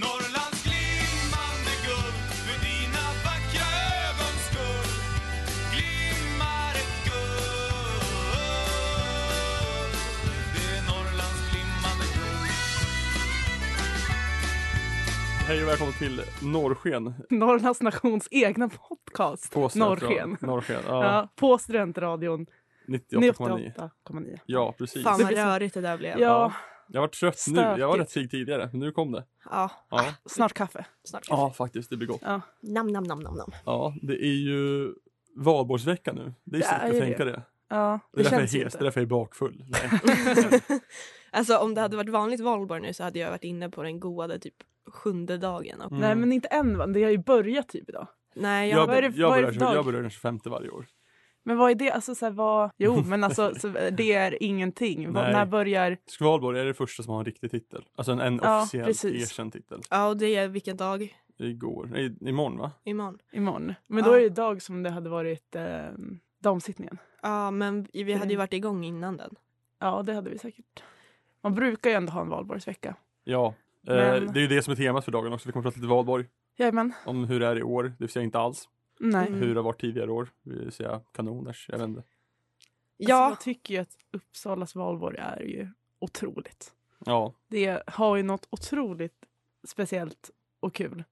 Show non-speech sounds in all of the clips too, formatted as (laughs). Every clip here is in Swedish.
Norrlands glimmande guld för dina vackra ögons skull glimmar ett guld Det är Norrlands glimmande guld Hej och välkommen till Norrsken. (laughs) Norrlands nations egna podcast. På Sven, Norrsken. tror jag. Norrsken, Ja. ja. på Studentradion 98,9. 98,9. Ja, precis. Fan Det vad blir så- rörigt det där blev. Ja. Ja, Jag var trött nu. Jag var Stökigt. rätt seg tidigare, men nu kom det. Ja, Ah, snart kaffe. Snart ja faktiskt. Det blir gott. Ja. Nam, nam, nam, nam, nam. Ja, det är ju valborgsvecka nu. Det är Det svårt är att ju tänka det. Det, Ja, är därför jag känns ju är hes, det är därför jag är bakfull. Nej. Alltså om det hade varit vanligt valborg nu så hade jag varit inne på den goade typ sjunde dagen. Och... Mm. Nej, men inte än. va? Det har ju börjat typ idag. Nej, jag... jag, vad är det- jag, vad är det börjar, för dag? jag börjar den 25 varje år. Men vad är det? Alltså, så här, vad... Jo, men alltså, så, det är ingenting. Vad, Nej. när börjar... Skvalborg är det första som har en riktig titel. Alltså en, en Ja, officiell precis. erkänd titel. Ja, och det är vilken dag? Igår, nej, imorgon va? Imorgon. Imorgon. Men Ja. då är det idag som det hade varit eh, damsittningen. Ja, men vi Mm. hade ju varit igång innan Alltså, den. Ja, det hade vi säkert. Man brukar ju ändå ha en valborgsvecka. Ja. Eh, Men- det är ju det som är temat för dagen också. Vi kommer att prata lite valborg. Jajamän. Om hur det är i år, det vill säga inte alls. Nej. Mm. Hur det har varit tidigare år, det vill säga kanoners. Jag vet inte. Ja, Alltså, jag tycker ju att Uppsalas valborg är ju otroligt. Ja, Det har ju något otroligt speciellt och kul.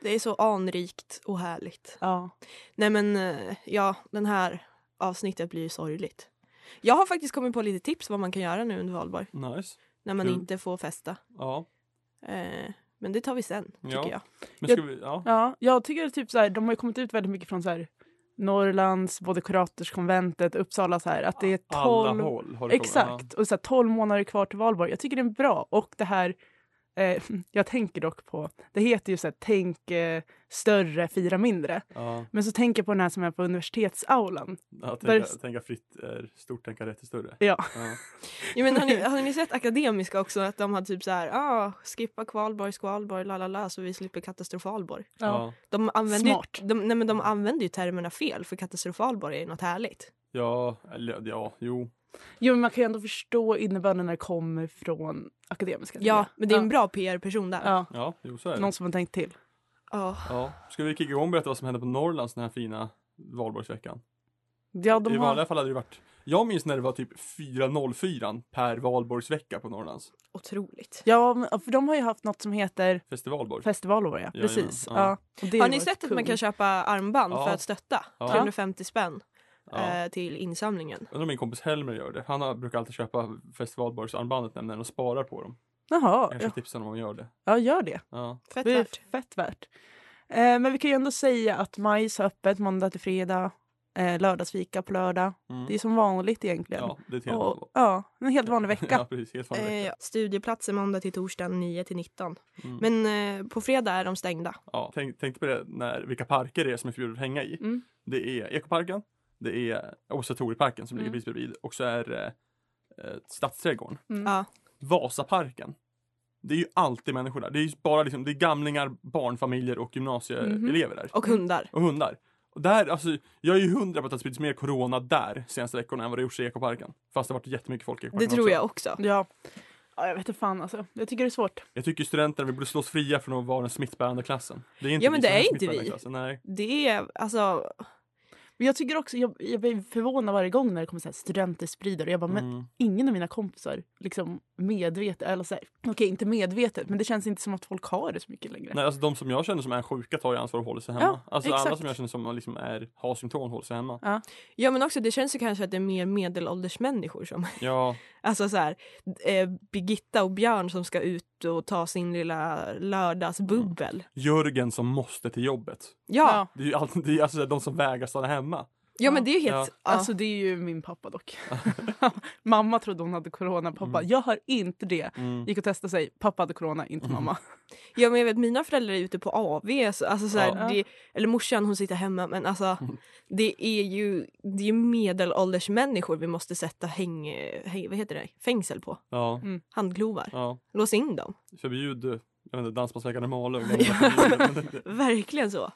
det är så anrikt och härligt. Ja. Nej men, eh, ja, den här avsnittet blir ju sorgligt. Jag har faktiskt kommit på lite tips vad man kan göra nu under valborg. nice. När man Kul. inte får festa. Ja. Eh, men det tar vi sen, tycker Ja. jag. Men Jag- ska vi, ja. ja, jag tycker typ så här, de har ju kommit ut väldigt mycket från så här Norrlands, både kuratorskonventet, Uppsala så här, att det är Alla tolv, håll har det kommit. exakt, och så här, 12 månader kvar till valborg. Jag tycker det är bra och det här, eh, (laughs) jag tänker dock på, det heter ju så här, tänk eh, större, fira mindre. Ja. Men så tänker jag på den här som är på universitetsaulan. Ja. Ja, Där- tänka, tänka fritt är stort, tänka rätt är större. Ja, Ja. Ja, men har, (laughs) ni, har ni sett Akademiska också? Att de hade typ så här, ah, skippa kvalborg, skvalborg, la la la så vi slipper katastrofalborg. ja. Ja. De använder, Smart. Ju, de, nej, men de använder ju termerna fel för katastrofalborg är ju något härligt. ja, eller ja, jo. Jo, men man kan ju ändå förstå innebörden när det kommer från akademiska. tycker Ja, jag. men det är en bra PR-person där. Ja. Ja, jo så är Ja, det. någon som har tänkt till. Ja. Ja. Ska vi kicka igång och berätta vad som hände på Norrlands den här fina valborgsveckan? Ja, de I har... vanliga fall hade det varit jag minns när det var typ 404 per valborgsvecka på Norrlands. Otroligt. Ja, men- för de har ju haft något som heter Festivalborg. festivalår, ja. Ja, Precis. ja, Ja, ja. Och det har ni varit sett att kung. man kan köpa armband Ja. för att stötta? Ja. 350 spänn ja. eh, till insamlingen. Undrar om min kompis Helmer gör det. Han har- brukar alltid köpa festivalborgsarmbandet nämligen och sparar på dem. Jaha, Jag ja. kanske tipsar honom om att göra det. ja, gör det. Ja. Fett Det är värt. fett värt. Eh, men vi kan ju ändå säga att majs har öppet måndag till fredag, eh, lördagsfika på lördag. Mm. Det är som vanligt egentligen. ja, det är ett helt Och, ja, en helt vanlig (laughs) Ja, vecka. precis. Helt vanlig Eh, vecka. ja. studieplatser måndag till torsdag 9 till 19. Mm. Men eh, på fredag är de stängda. Ja, tänk, tänkte på det när, vilka parker det är som är förbjudet att hänga i. Mm. Det är Ekoparken, det är Observatorieparken som ligger Mm. precis bredvid och så är eh, eh, Stadsträdgården. Mm. Ja. Vasaparken. Det är ju alltid människor där. Det är ju bara liksom, det är gamlingar, barnfamiljer och Mhm. gymnasieelever där. Mm. Och hundar. Och hundar. Och där, alltså, jag är ju hundra på att det har spridits mer corona där senaste veckorna än vad det gjorts i Ekoparken. Fast det har varit jättemycket folk i Det Ekoparken tror också. jag också. Ja. ja, jag vet inte fan alltså. Jag tycker det är svårt. Jag tycker studenterna, vi borde slå oss fria från att vara den smittbärande klassen. Det är inte Ja, men vi som det är inte smittbärande vi. klassen, Nej. Det är alltså Men jag tycker också, jag, jag blir förvånad varje gång när det kommer så här studenter sprider och jag bara, men Mm. ingen av mina kompisar liksom medvetet, eller så här, okej inte medvetet, men det känns inte som att folk har det så mycket längre. Nej, alltså de som jag känner som är sjuka tar ju ansvar och håller sig hemma. Ja, alltså alla exakt. som jag känner som liksom är, har symptom håller sig hemma. Ja men också det känns ju kanske att det är mer medelålders människor som, (laughs) Ja, alltså så här, eh, Birgitta och Björn som ska ut och ta sin lilla lördagsbubbel. Jörgen som måste till jobbet. Ja, ja. Det är ju alltid, det är alltså de som vägrar stanna hemma. men det är ju Ja. helt, ja. Alltså det är ju min (laughs) pappa dock. (laughs) mamma trodde hon hade corona, pappa jag har inte det. Mm. Gick och testade sig, pappa hade corona, inte (laughs) mamma. ja men jag vet mina föräldrar är ute på AV, så, alltså så här, Ja. det, eller morsan hon sitter hemma men alltså Mm. det är ju det är ju medelålders människor vi måste sätta häng, häng, vad heter det, fängsel på. Ja, Handklovar. ja. Lås in dem. (laughs) Förbjud, jag vet inte, Dansbandsveckan i Malung. Men- Verkligen så.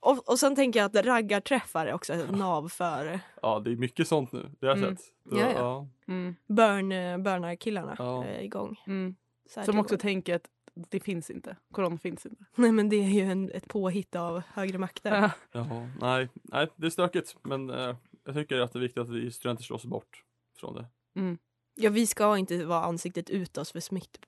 Och, och sen tänker jag att raggarträffar är också ett nav för Ja, det är mycket sånt nu. Det har jag Mm. sett. Det, Ja, ja. Mm, burn, eh, burnarkillarna Ja. eh, igång. mm. Så här Som till också år. tänker att det finns inte. Corona finns inte. (laughs) Nej men det är ju en, ett påhitt av högre makter. Ja. Jaha, nej, nej, det är stökigt. Men eh, jag tycker att det är viktigt att vi studenter slår oss bort från det. Mm. Ja vi ska inte vara ansiktet utåt för smitt,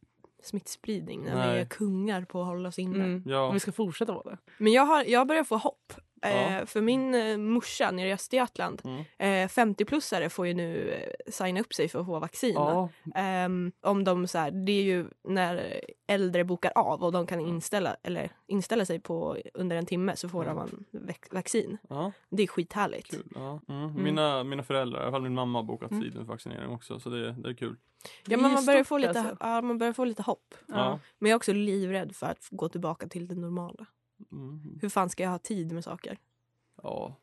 smittspridning när vi Nej. är kungar på att hålla oss inne. Mm. Ja. Och vi ska fortsätta vara det. Men jag, har, jag börjar få hopp. Ja. Eh, för min eh, morsa nere i Östergötland, Mm. eh, 50-plussare får ju nu eh, signa upp sig för att få vaccin. Ja, Ehm, om de så här, det är ju när äldre bokar av och de kan inställa, eller inställa sig på under en timme så får Mm. de en vex- vaccin. ja, Det är skithärligt. kul. Ja. Mm. Mina, mina föräldrar, i alla fall min mamma, har bokat tid med vaccinering också. Så det, det är kul. Ja, Det men är man, börjar stort, få lite, alltså. ja, man börjar få lite hopp. Ja. Men jag är också livrädd för att gå tillbaka till det normala. Mm. Hur fan ska jag ha tid med saker? ja.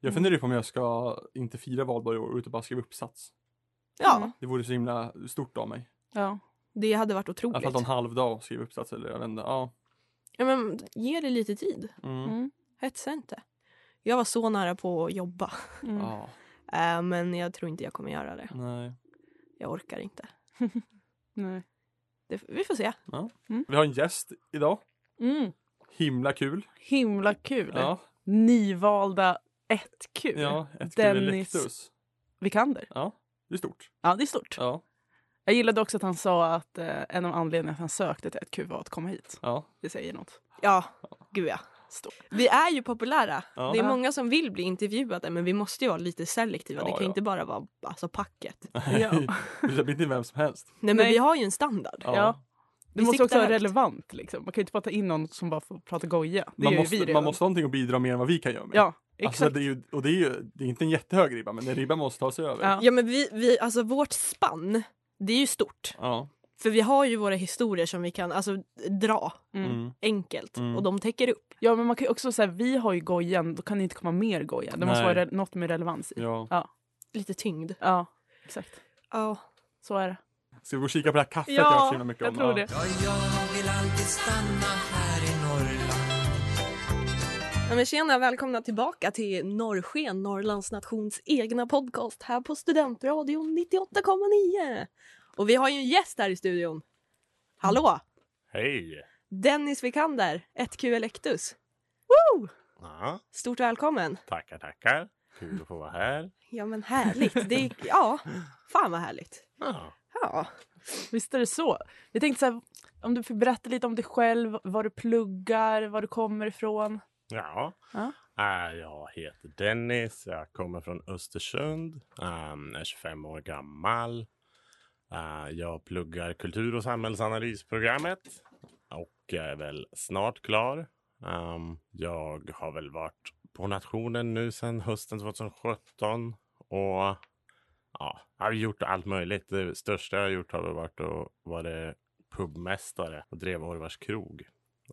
Jag funderar ju på om jag ska inte fira valborg i år och inte bara skriva uppsats. Ja, Mm. Det vore så himla stort av mig. Ja. det hade varit I alla fall otroligt. ta en halv dag och skriva uppsats eller jag vet inte. Ja. Ja, men, ge det lite tid. Mm. Mm. Hetsa inte. Jag var så nära på att jobba. Mm. ja, Eh, men jag tror inte jag kommer göra det. nej. Jag orkar inte. Nej. Det, vi får se. Vi har en gäst idag. Mm. Himla kul. Himla kul. Ja, Nyvalda 1Q. ja ett kul Dennis. Electus. Vikander. Ja, det är stort. Ja, det är stort. Ja, Jag gillade också att han sa att eh, en av anledningarna att han sökte till 1Q var att komma hit. ja. Det säger något. Ja, gud ja. Stort. Vi är ju populära. Ja. (laughs) Det är många som vill bli intervjuade men vi måste ju vara lite selektiva. det Ja, kan ju ja. inte bara vara alltså, packet. (laughs) Ja. Du släpper inte in vem som helst. Nej men Nej. vi har ju en standard. Ja. Ja. Det Vi måste också siktar vara högt. relevant. Liksom. Man kan ju inte bara ta in någon som bara får prata goja. Det Man, gör ju måste, vi redan. man måste ha någonting att bidra med än vad vi kan göra med. Ja, exakt. Alltså, det är ju, och det är ju det är inte en jättehög ribba, men en ribba måste ta sig över. Ja. Ja men vi, vi, alltså vårt spann det är ju stort. Ja. För vi har ju våra historier som vi kan alltså, dra Mm. Mm. enkelt Mm. och de täcker upp. Ja, men man kan ju också säga vi har ju gojan, då kan det inte komma mer goja. Det måste Nej. vara re- något med relevans i. Ja. ja. Lite tyngd. exakt. Ja. Så är det. Ska vi gå och kika på det här kaffet jag har hört så Ja, himla jag mycket om? tror det. Ja, jag vill alltid stanna här i Norrland Ja, men tjena, välkomna tillbaka till Norrsken, Norrlands nations egna podcast här på Studentradion 98,9. Och vi har ju en gäst här i studion. Hallå! Hej! Dennis Vikander, 1Q Electus. Ja, Stort välkommen! tackar, tackar. Kul att få vara här. Ja men härligt! (laughs) Det är, ja, fan vad härligt. Ja. Ja. Visst är det så. Vi tänkte så här, om du får berätta lite om dig själv, vad du pluggar, var du kommer ifrån. ja. Ja. Eh, Jag heter Dennis, jag kommer från Östersund, Ehm, är 25 år gammal. Eh, Jag pluggar kultur och samhällsanalysprogrammet och jag är väl snart klar. Ehm, Jag har väl varit på nationen nu sedan hösten 2017 och ja, jag har gjort allt möjligt. Det största jag har gjort har väl varit att vara pubmästare och drev Orvars krog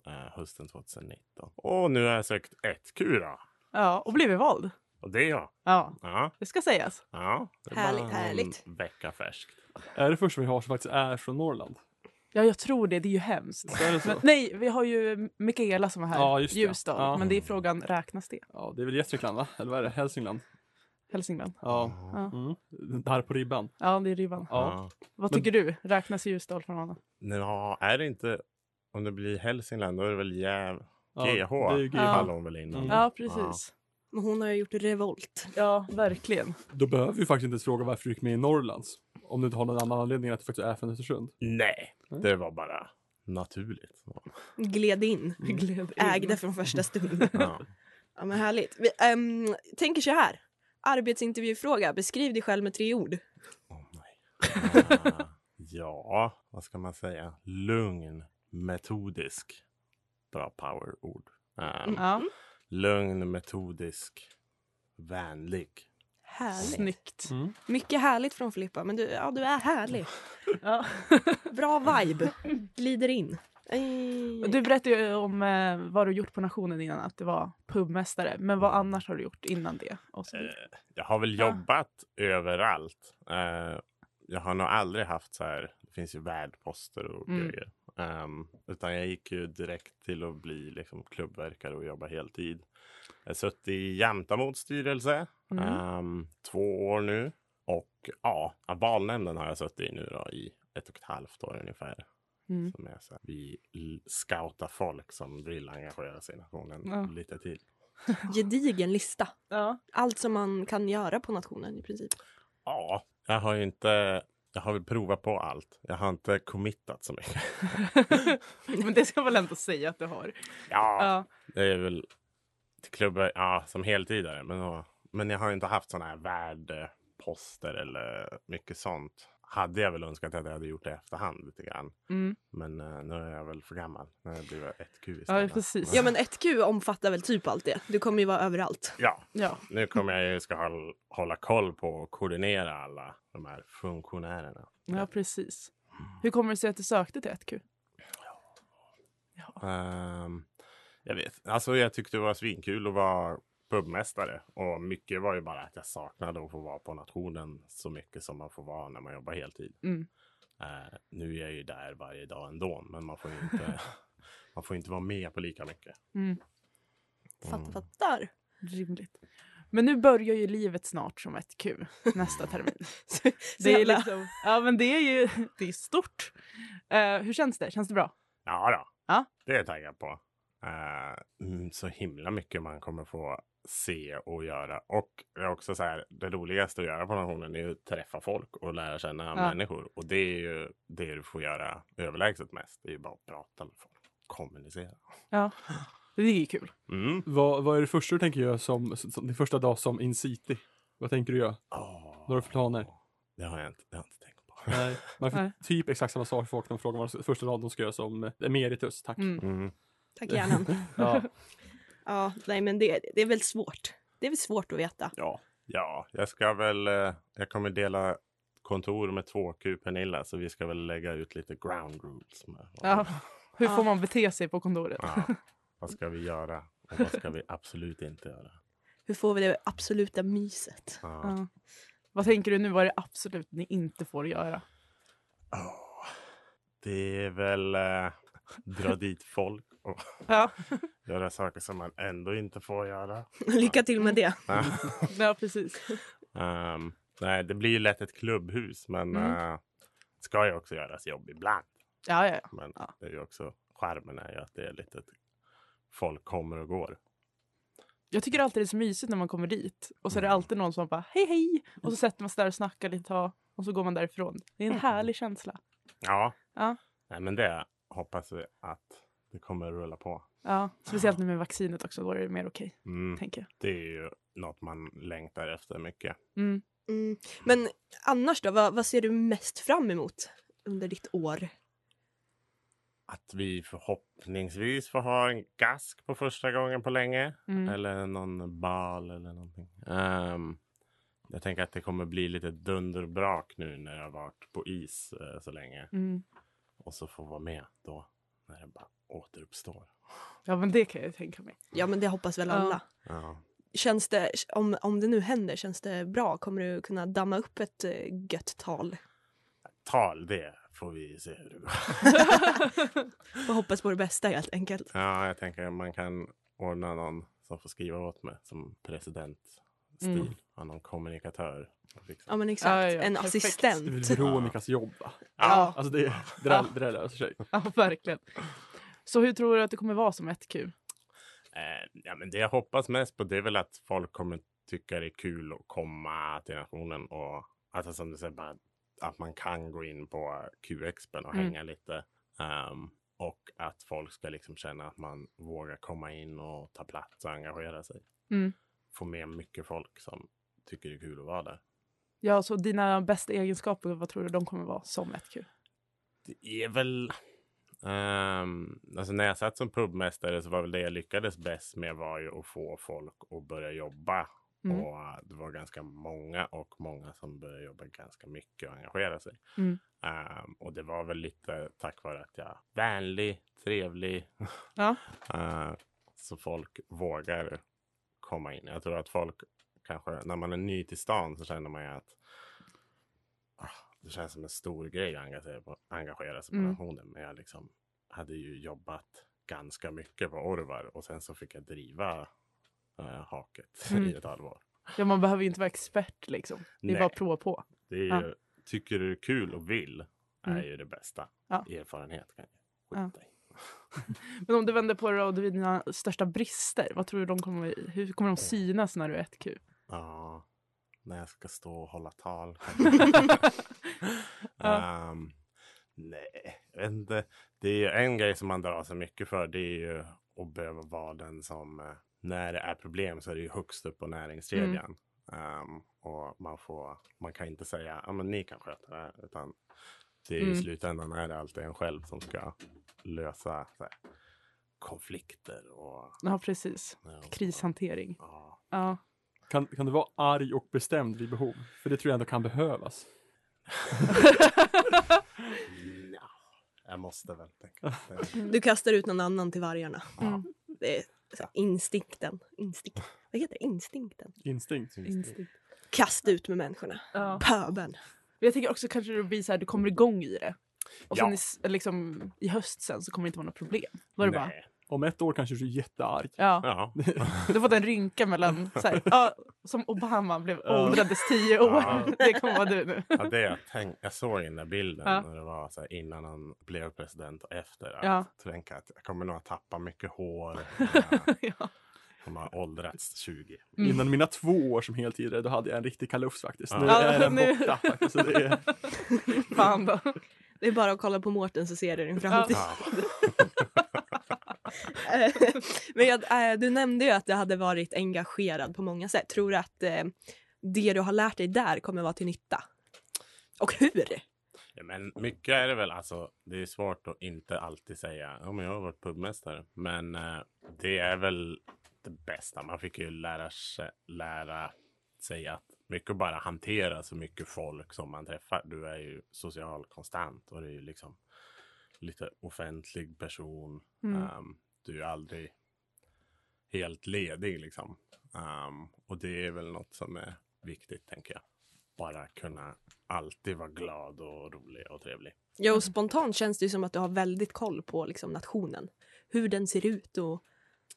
eh, hösten 2019. Och nu har jag sökt 1Q då. Ja, och blivit vald. Och det är jag. Ja, Ja, det ska sägas. ja. Det är Härligt, bara härligt. En vecka färskt. Är det första vi har som faktiskt är från Norrland? Ja, jag tror det. Det är ju hemskt. Så är det så? Men, nej, vi har ju Mikaela som var här. Ja, just det. Ljusdal. Ja. Men det är frågan, räknas det? Ja, det är väl Gästrikland va? Eller vad är det? Hälsingland? Hälsingland? Ja. Ja. Mm. Där på ribban. Ja, det är ribban. Ja. Vad Men- Mm. tycker du? Räknas Ljusdal från honom? Nå, är det inte... Om det blir Hälsingland, då är det väl Gäv... Ja, GH? det är ju GH. Faller hon väl innan. Mm. Ja, precis. Men hon har ju gjort revolt. Ja, verkligen. Då behöver vi faktiskt inte ens fråga varför du gick med i Norrlands. Om du inte har någon annan anledning än att du faktiskt är från Östersund. Nej, Mm. det var bara naturligt. (laughs) Gled in. Mm. (laughs) Gled in. Ägde från första stund. (laughs) Ja. Ja men härligt. Vi, ehm, tänker så här. Arbetsintervjufråga. Beskriv dig själv med tre ord. Mm. Åh nej. Ah, ja, vad ska man säga? Lugn, metodisk. Bra powerord. Ah, Mm. Ja, Mm. Lugn, metodisk, vänlig. Härligt. snyggt. Mm. Mycket härligt från Filippa, men du, ja, du är härlig. Mm. Ja. Bra vibe. Glider in. Ej. Du berättade ju om eh, vad du gjort på nationen innan, att det var pubmästare. Men Mm. vad annars har du gjort innan det? Och så, Eh, vidare. Jag har väl Ja. jobbat överallt. Eh, jag har nog aldrig haft så här. Det finns ju värdposter och Mm. grejer. Ehm, utan jag gick ju direkt till att bli liksom, klubbverkare och jobba heltid. Jag har suttit i Jämtamods styrelse Mm. eh. ehm, två år nu. Och ja, valnämnden har jag suttit i nu då, i ett och ett halvt år ungefär. (laughs) Mm. Som är så här, vi l- scoutar folk som vill engagera sig i nationen Ja. lite till. Gedigen lista. Ja. (laughs) Allt som man kan göra på nationen i princip. Ja, jag har ju inte... Jag har väl provat på allt. Jag har inte committat så mycket. Men det ska väl ändå säga att du har. (laughs) ja, Ja. det är väl till klubbar ja, som heltidare. Men, då- men jag har inte haft sådana här värdeposter eller mycket sånt. Hade jag väl önskat att jag hade gjort det i efterhand lite grann. Mm. Men eh, nu är jag väl för gammal. Nu har jag blivit ett Q istället. ja, precis. Ja men 1Q omfattar väl typ allt det. Du kommer ju vara överallt. Ja, Ja. nu kommer jag ju ska håll, hålla koll på och koordinera alla de här funktionärerna. ja, precis. Hur kommer det sig att du sökte till 1Q? Ehm, jag vet. Alltså jag tyckte det var svinkul att vara pubmästare. Och mycket var ju bara att jag saknade att få vara på nationen så mycket som man får vara när man jobbar heltid. Mm. Eh, nu är jag ju där varje dag ändå, men man får ju inte, man får inte vara med på lika mycket. Mm. Fattar, fattar. Rimligt. Men nu börjar ju livet snart som 1Q nästa (laughs) termin. Så, Det är jävla- liksom, ja, men det är ju (laughs) det är stort. Eh, hur känns det? Känns det bra? Ja då, Ja. det är jag taggad på. Eh, mm, så himla mycket man kommer få se och göra. Och det är också så här, det roligaste att göra på nationen är ju att träffa folk och lära känna människor. Och det är ju det du får göra överlägset mest. Det är ju bara att prata med folk. Kommunicera. Ja. Det är ju kul. Mm. Vad, vad är det första du tänker göra som, som din första dag som in city? Vad tänker du göra? Åh, Några planer? Det har jag inte, det har jag inte tänkt på. Nej, man får Nej. typ exakt samma svar från folk när de frågar vad de- första dagen de ska göra som eh, emeritus. Tack. Mm. Mm. Tack hjärnan. (laughs) Ja. Ja, nej men det, det är väl svårt. Det är väl svårt att veta. Ja. ja, jag ska väl, eh, jag kommer dela kontor med 2Q Pernilla så vi ska väl lägga ut lite ground rules. Med. Ja. Hur Ja. får man bete sig på kontoret? Ja. Vad ska vi göra och vad ska vi absolut inte göra? Hur får vi det absoluta myset? Ja. Ja. Vad tänker du nu? Vad är det absolut ni inte får göra? Åh, Det är väl eh, dra dit folk och Ja, göra saker som man ändå inte får göra. Lycka till Mm. med det. ja precis. Ehm, nej, det blir ju lätt ett klubbhus, men Mm. eh, ska ju också göras jobb ibland. Ja, ja, ja. Men Ja. det är ju också charmen är ju att det är lite att folk kommer och går. Jag tycker alltid det är så mysigt när man kommer dit och så är det Mm. alltid någon som bara hej hej och så sätter man sig där och snackar lite tag och så går man därifrån. Det är en härlig känsla. Ja, Ja. Nej, men det hoppas vi att det kommer att rulla på. Ja, speciellt nu med vaccinet också, då är det mer okej, Mm. tänker jag. Det är ju något man längtar efter mycket. Mm. Mm. Men annars då, vad, vad ser du mest fram emot under ditt år? Att vi förhoppningsvis får ha en gask på första gången på länge. Mm. Eller någon bal eller någonting. Ehm, jag tänker att det kommer bli lite dunderbrak nu när jag har varit på is eh, så länge. Mm. Och så får vara med då när det bara återuppstår. Ja, men det kan jag tänka (laughs) mig. Ja men det hoppas väl Ja. alla. Ja. Känns det, om, om det nu händer, känns det bra? Kommer du kunna damma upp ett eh, gött tal? Tal, det får vi se hur det går. Och hoppas på det bästa helt enkelt. Ja, jag tänker att man kan ordna någon som får skriva åt mig som presidentstil. Mm. Ja, någon kommunikatör. Liksom. Ja men exakt, Ja, ja, en perfekt. Det är assistent. väl Veronikas jobb va? Ja. Alltså det, det där, det där löser sig. Ja, verkligen. Så hur tror du att det kommer vara som 1Q? Eh, ja, men det jag hoppas mest på det är väl att folk kommer tycka det är kul att komma till nationen och alltså, som du säger, bara, att man kan gå in på QXpen och Mm. hänga lite. Ehm, och att folk ska liksom känna att man vågar komma in och ta plats och engagera sig. Mm. Få med mycket folk som tycker det är kul att vara där. Ja, så dina bästa egenskaper, vad tror du de kommer vara som 1Q? Det är väl... Ehm, alltså när jag satt som pubmästare så var väl det jag lyckades bäst med var ju att få folk att börja jobba. Mm. Och eh, det var ganska många och många som började jobba ganska mycket och engagera sig. Mm. Ehm, och det var väl lite tack vare att jag är vänlig, trevlig. Ja. (laughs) Ehm, så folk vågar komma in. Jag tror att folk kanske, när man är ny till stan så känner man ju att ah, det känns som en stor grej att engagera, på, engagera sig på Mm. nationen. Men jag liksom hade ju jobbat ganska mycket på Orvar och sen så fick jag driva eh, haket Mm. i ett halvår. Ja, man behöver ju inte vara expert liksom. Det är Nej. bara att prova på. Det är ju, Ja. Tycker du det är kul och vill är Mm. ju det bästa. Ja. Erfarenhet kan jag Ja. skita i. Men om du vänder på det då, och du är dina största brister, vad tror du de kommer, hur kommer de synas när du är 1Q? Ja, när jag ska stå och hålla tal. (laughs) (laughs) Ja. Ehm, nej, jag vet inte. Det är ju en grej som man drar sig mycket för. Det är ju att behöva vara den som, eh, när det är problem så är det ju högst upp på näringskedjan. Mm. Ehm, och man, får, man kan inte säga, ja men ni kan sköta det här. Utan det är Mm. i slutändan är det alltid en själv som ska lösa så här, konflikter och Ja, precis. ja, Krishantering. Ja, Ja. Kan, kan du vara arg och bestämd vid behov? För det tror jag ändå kan behövas. Nja, jag måste väl tänka. Du kastar ut någon annan till vargarna. Mm. Det är så här instinkten. Instinkt. Vad heter det? Instinkten. Instinkt. Instinkt. Kasta ut med människorna. Ja. Pöbeln. Men jag tänker också kanske det blir så här, du kommer igång i det. Och sen Ja. i, s- liksom, i höst sen så kommer det inte vara något problem. Då är det bara, Nej. Om ett år kanske du är jättearg. ja, Ja. du har fått en rynka mellan, så här, ja, som Obama blev åldrades tio år. Ja. Det kommer vara du nu. ja, det jag, tänk, jag såg i den där bilden Ja. när det var så här, innan han blev president och efter. Att Ja. tänka att jag kommer nog att tappa mycket hår. (laughs) eh, Ja. Som har åldrats 20. Mm. Innan mina två år som heltidare, då hade jag en riktig kalufs faktiskt. Nu Ja. är den Ja, nu- borta faktiskt. Så det är, (laughs) Fan då. Det är bara att kolla på Mårten så ser du din framtid. Ja. Eh, (laughs) Men jag, eh, du nämnde ju att du hade varit engagerad på många sätt. Tror du att eh, det du har lärt dig där kommer vara till nytta? Och hur? Ja, Men mycket är det väl, alltså det är svårt att inte alltid säga ja men jag har varit pubmästare. Men eh, det är väl det bästa. Man fick ju lära sig, lära sig att mycket bara hantera så mycket folk som man träffar. Du är ju social konstant och det är ju liksom lite offentlig person. Mm. Ehm, du är aldrig helt ledig liksom. Ehm, och det är väl något som är viktigt tänker jag. Bara kunna alltid vara glad och rolig och trevlig. Ja, Mm. och spontant känns det ju som att du har väldigt koll på liksom, nationen. Hur den ser ut och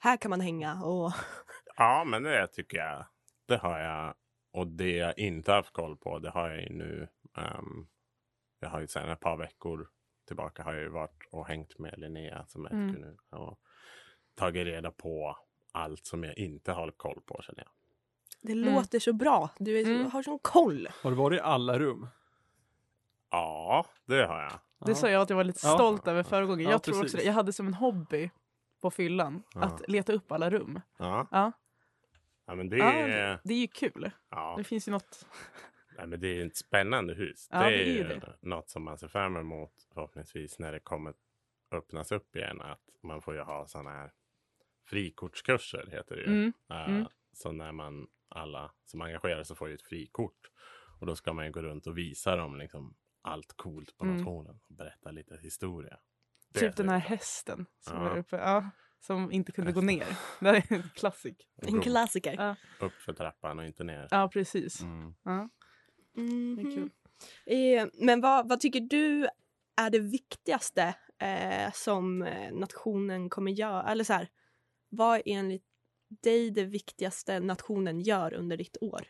här kan man hänga och (laughs) Ja, men det tycker jag. Det har jag. Och det jag inte haft koll på, det har jag ju nu. ehm, jag har ju sedan ett par veckor tillbaka har jag ju varit och hängt med Linnea som är Mm. mm. nu. Och tagit reda på allt som jag inte har koll på känner jag. det Mm. låter så bra. Du är, Mm. har sån koll. har du varit i alla rum? Ja, det har jag. Det sa jag att jag var lite Ja. stolt över förra gången. Ja, Jag tror precis. också det. Jag hade som en hobby på fyllan Ja. att leta upp alla rum. Ja, Ja. ja men det Ja, är... Det är ju kul. Ja, Det finns ju något. nej, men det är ett spännande hus. Ja, det det är är ju ju det. något som man ser fram emot förhoppningsvis när det kommer öppnas upp igen. Att man får ju ha sådana här frikortskurser heter det ju. Mm. Eh, Mm. Så när man alla som engagerar sig får ju ett frikort. Och då ska man ju gå runt och visa dem liksom allt coolt på Mm. nationen. Och berätta lite historia. Det Typ ser den här ut. hästen som Ja. var uppe. Ja. Som inte kunde gå Hästen. ner. Det här är en klassik. En Gå klassiker. Ja. upp för trappan och inte ner. Ja, precis. Mm. Ja. Det är kul. Mhm. Eh, Men vad, vad tycker du är det viktigaste eh, som eh, nationen kommer göra? Eller så här, vad är enligt dig det viktigaste nationen gör under ditt år?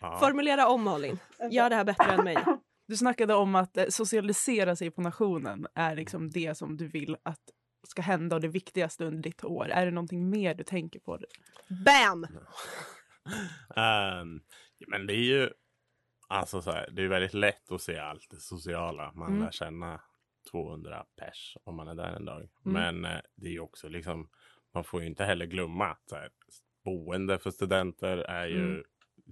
Ja. Formulera om, Malin. Gör det här bättre än mig. Du snackade om att eh, socialisera sig på nationen är liksom det som du vill att ska hända och det viktigaste under ditt år. Är det någonting mer du tänker på? Bam! (laughs) Ehm, ja, men det är ju alltså så här, det är väldigt lätt att se allt det sociala. Man Mm. lär känna 200 pers om man är där en Mm. dag. Men eh, det är ju också liksom, man får ju inte heller glömma att så här, boende för studenter är ju Mm.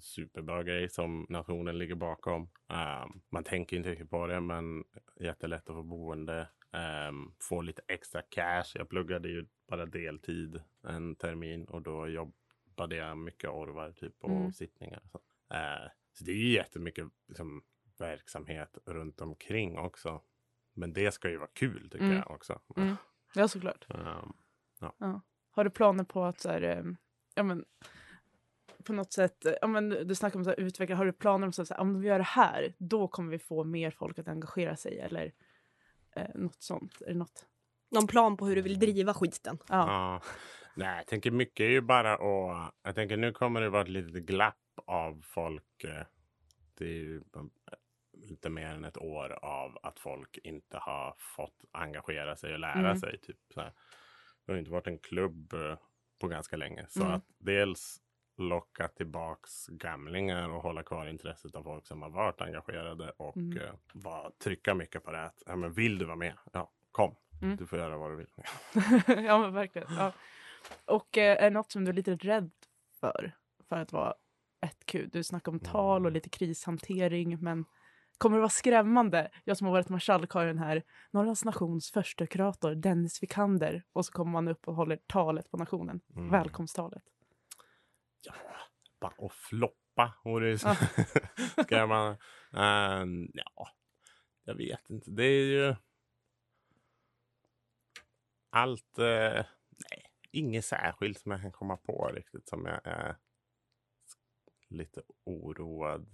superbra grej som nationen ligger bakom. Ehm, man tänker inte riktigt på det, men jättelätt att få boende. Ehm, få lite extra cash. Jag pluggade ju bara deltid en termin och då jobbade jag mycket orvar typ och Mm. sittningar. och Så. Eh, så det är ju jättemycket liksom, verksamhet runt omkring också. Men det ska ju vara kul tycker Mm. jag också. Mm. Ja, såklart. Ehm, Har du planer på att så här, eh, ja, men, på något sätt, eh, ja, men, du snackar om så här, utveckla, har du planer om så här, så här, om vi gör det här, då kommer vi få mer folk att engagera sig eller Eh, något sånt. Är det något? Någon plan på hur du vill driva skiten. Ja. Ja. Nej, jag tänker mycket är ju bara att... Jag tänker nu kommer det vara ett litet glapp av folk. eh, Det är ju eh, lite mer än ett år av att folk inte har fått engagera sig och lära Mm. sig. Typ, så här. Det har inte varit en klubb eh, på ganska länge. Så Mm. att dels locka tillbaks gamlingar och hålla kvar intresset av folk som har varit engagerade och Mm. eh, bara trycka mycket på det. här Att, ja, men vill du vara med? Ja, kom. Mm. Du får göra vad du vill. (laughs) ja, men verkligen. Ja. Och eh, är något som du är lite rädd för, för att vara ett Q? Du snackar om tal Mm. och lite krishantering, men kommer det vara skrämmande? Jag som har varit marskalk har ju den här Norrlands nations första kurator, Dennis Vikander, och så kommer man upp och håller talet på nationen, Mm. välkomsttalet. floppa och floppa. Och det är så... Ja. (laughs) Ska man... Ehm, ja, jag vet inte. Det är ju... Allt... eh, nej, inget särskilt som jag kan komma på riktigt som jag är lite oroad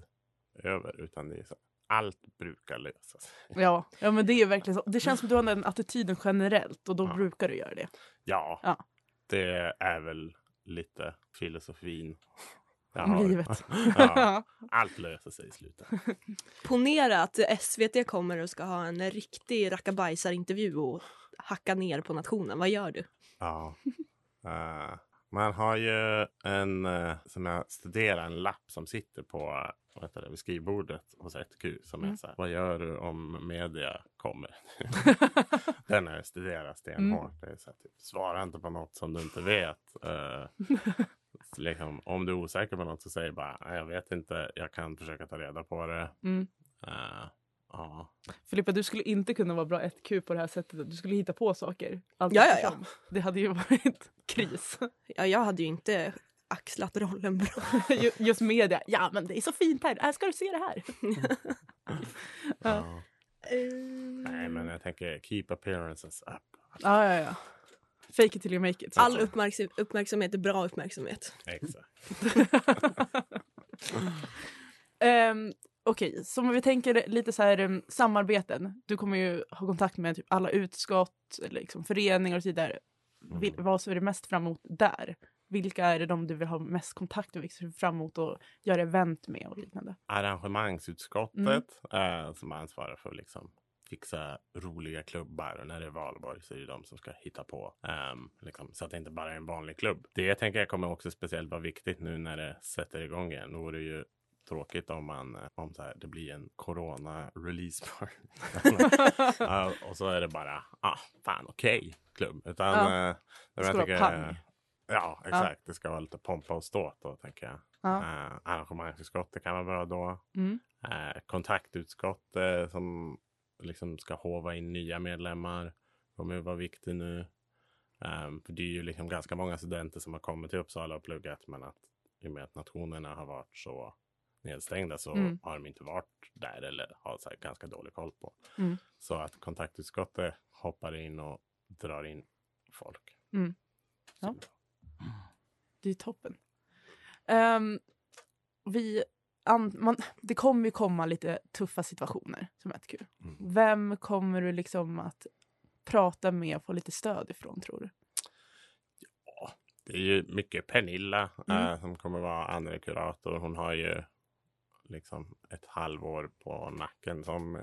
över. Utan det är så... Allt brukar lösa sig. Ja, ja men det är ju verkligen så. Det känns som att du har den attityden generellt och då Ja. brukar du göra det. Ja, Ja. det är väl lite filosofin. jag Om har. livet. (laughs) ja, (laughs) allt löser sig i slutet. Ponera att SVT kommer och ska ha en riktig rackabajsarintervju och hacka ner på nationen. Vad gör du? Ja. Eh, man har ju en, eh, som jag studerar, en lapp som sitter på vad heter det, vid skrivbordet hos 1Q som är Mm. så här, vad gör du om media (laughs) kommer? Den har jag studerat stenhårt. Mm. Det är så här, typ, svara inte på något som du inte vet. Eh, liksom, om du är osäker på något så säg bara, "Nej, jag vet inte, jag kan försöka ta reda på det. Mm. Eh, ja. Filippa, du skulle inte kunna vara bra 1Q på det här sättet. Du skulle hitta på saker. Allt Ja, ja, ja. eftersom. Det hade ju (laughs) varit kris. Ja, jag hade ju inte axlat rollen bra. (laughs) Ju- Just media. Ja, men det är så fint här. Här ska du se det här. Ja. Ja. Nej, men jag tänker keep appearances up. Ja, ja, ja. Fake it till you make it. alltså. All uppmärksam- uppmärksamhet är bra uppmärksamhet. Exakt. um, Okej, så om vi tänker lite så här em, samarbeten. Du kommer ju ha kontakt med typ alla utskott, eller liksom föreningar och så vidare. Mm. Vil- Vad ser du mest fram emot där? Vilka är det de du vill ha mest kontakt med, vilka ser du fram emot att göra event med och liknande? arrangemangsutskottet Mm. eh, som ansvarar för att liksom fixa roliga klubbar. Och när det är valborg så är det de som ska hitta på. ehm, liksom, så att det inte bara är en vanlig klubb. Det jag tänker jag kommer också speciellt vara viktigt nu när det sätter igång igen. Nu vore det ju tråkigt om, man, eh, om så här, det blir en corona-release (laughs) party. Ja, och så är det bara, ah, fan okej, klubb. Utan, Ja. eh, nej, men ska jag vara tycker- pang. Ja, exakt. Det ska vara lite pompa och ståt då, tänker jag. Ja. Eh, arrangemangsutskottet kan vara bra då. Mm. Eh, kontaktutskott eh, som liksom ska hova in nya medlemmar kommer ju vara viktig nu. Eh, för det är ju liksom ganska många studenter som har kommit till Uppsala och pluggat men att i och med att nationerna har varit så nedstängda så Mm. har de inte varit där eller har så här ganska dålig koll på. Mm. Så att kontaktutskottet hoppar in och drar in folk. Mm. Ja. Så- Det är toppen. Ehm, vi an- man, det kommer ju komma lite tuffa situationer som ett kul. Mm. Vem kommer du liksom att prata med och få lite stöd ifrån tror du? Det är ju mycket Pernilla Mm. eh, som kommer vara andra kurator. Hon har ju liksom ett halvår på nacken som eh,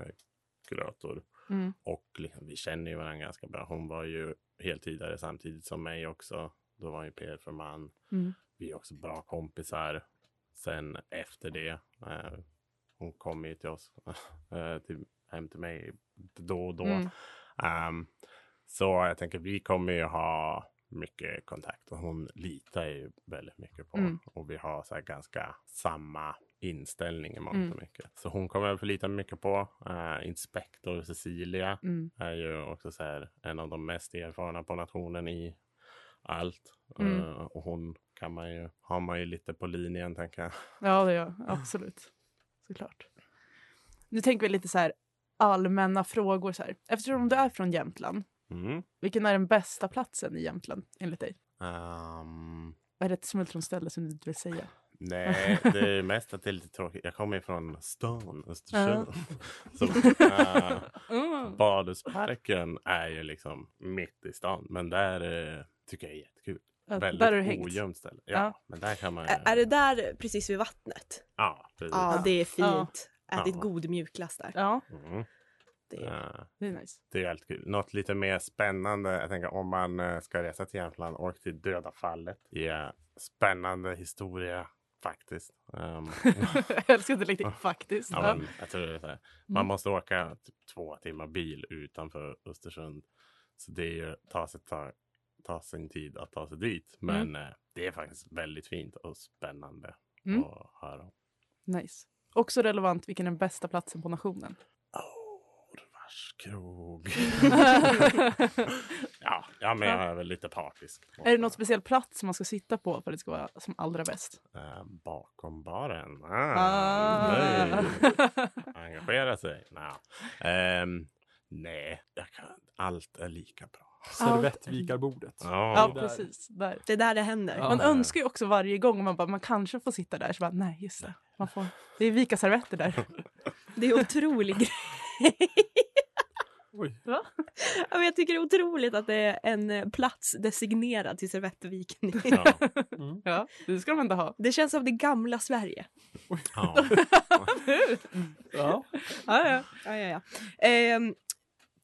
kurator. Mm. Och liksom, vi känner ju varandra ganska bra. Hon var ju heltidare samtidigt som mig också. Då var hon ju PR för man. Mm. Vi är också bra kompisar. Sen efter det. Eh, hon kom ju till oss. (laughs) Eh, till, hem till mig då och då. Mm. Ehm, så jag tänker vi kommer ju ha mycket kontakt och hon litar ju väldigt mycket på Mm. och vi har så här ganska samma inställning i mångt Mm. och mycket. Så hon kommer jag förlita mig mycket på. Eh, Inspektor Cecilia Mm. är ju också så här en av de mest erfarna på nationen i allt. Mm. Eh, och hon kan man ju, har man ju lite på linjen tänker jag. Ja, det gör jag. Absolut. Såklart. Nu tänker vi lite så här allmänna frågor. Så här. Eftersom du är från Jämtland, Mm. vilken är den bästa platsen i Jämtland enligt dig? Ehm, Är det ett smultronställe som du inte vill säga? (laughs) Nej, det är mest att det är lite tråkigt. Jag kommer ju från stan, Östersund. (laughs) Så, (laughs) eh, Badhusparken är ju liksom mitt i stan, men där eh, tycker jag är jättekul. Ja, Väldigt där har du hängt. ojämnt ställe. Ja, Ja. men där kan man... Ä- Är det där precis vid vattnet? Ja, precis. Ja, det är Ja. fint. Ätit Ja. god mjukglass där. Ja, Mm. Det är... Eh, det är nice. Det är ju alltid kul. Något lite mer spännande. Jag tänker om man eh, ska resa till Jämtland, åk till Döda fallet. Ja, spännande historia faktiskt. (laughs) Ehm, jag älskar det riktigt faktiskt. Ah. ja, Ja. Mm. men, jag tror det är så här. Man måste åka typ två timmar bil utanför Östersund. Så det är ju, tar, sig, tar, tar sin tid att ta sig dit. Men eh, det är faktiskt väldigt fint och spännande Mm. att höra om. Nice. Också relevant, vilken är den bästa platsen på nationen? (laughs) Orvars krog. (laughs) ja, ja, men jag är väl lite partisk. är det någon speciell plats som man ska sitta på för att det ska vara som allra bäst? Eh, bakom baren. Ah, Ah. nej. Engagera sig. Nja. Ehm, nej, jag kan, allt är lika bra. Servettvikarbordet. ja, där. precis. Där. det är där det händer. Ja. Man önskar ju också varje gång man bara, man kanske får sitta där. Så bara, nej, just det. Man får, det är vika servetter där. Det är (laughs) otroligt. Oj. Ja, men jag tycker det är otroligt att det är en eh, plats designerad till Servettviken. Ja, Ja, det ska de ändå ha. (laughs) Det känns som det gamla Sverige. ja. Ja. Ja, ja. ja, ja, ja. Ehm,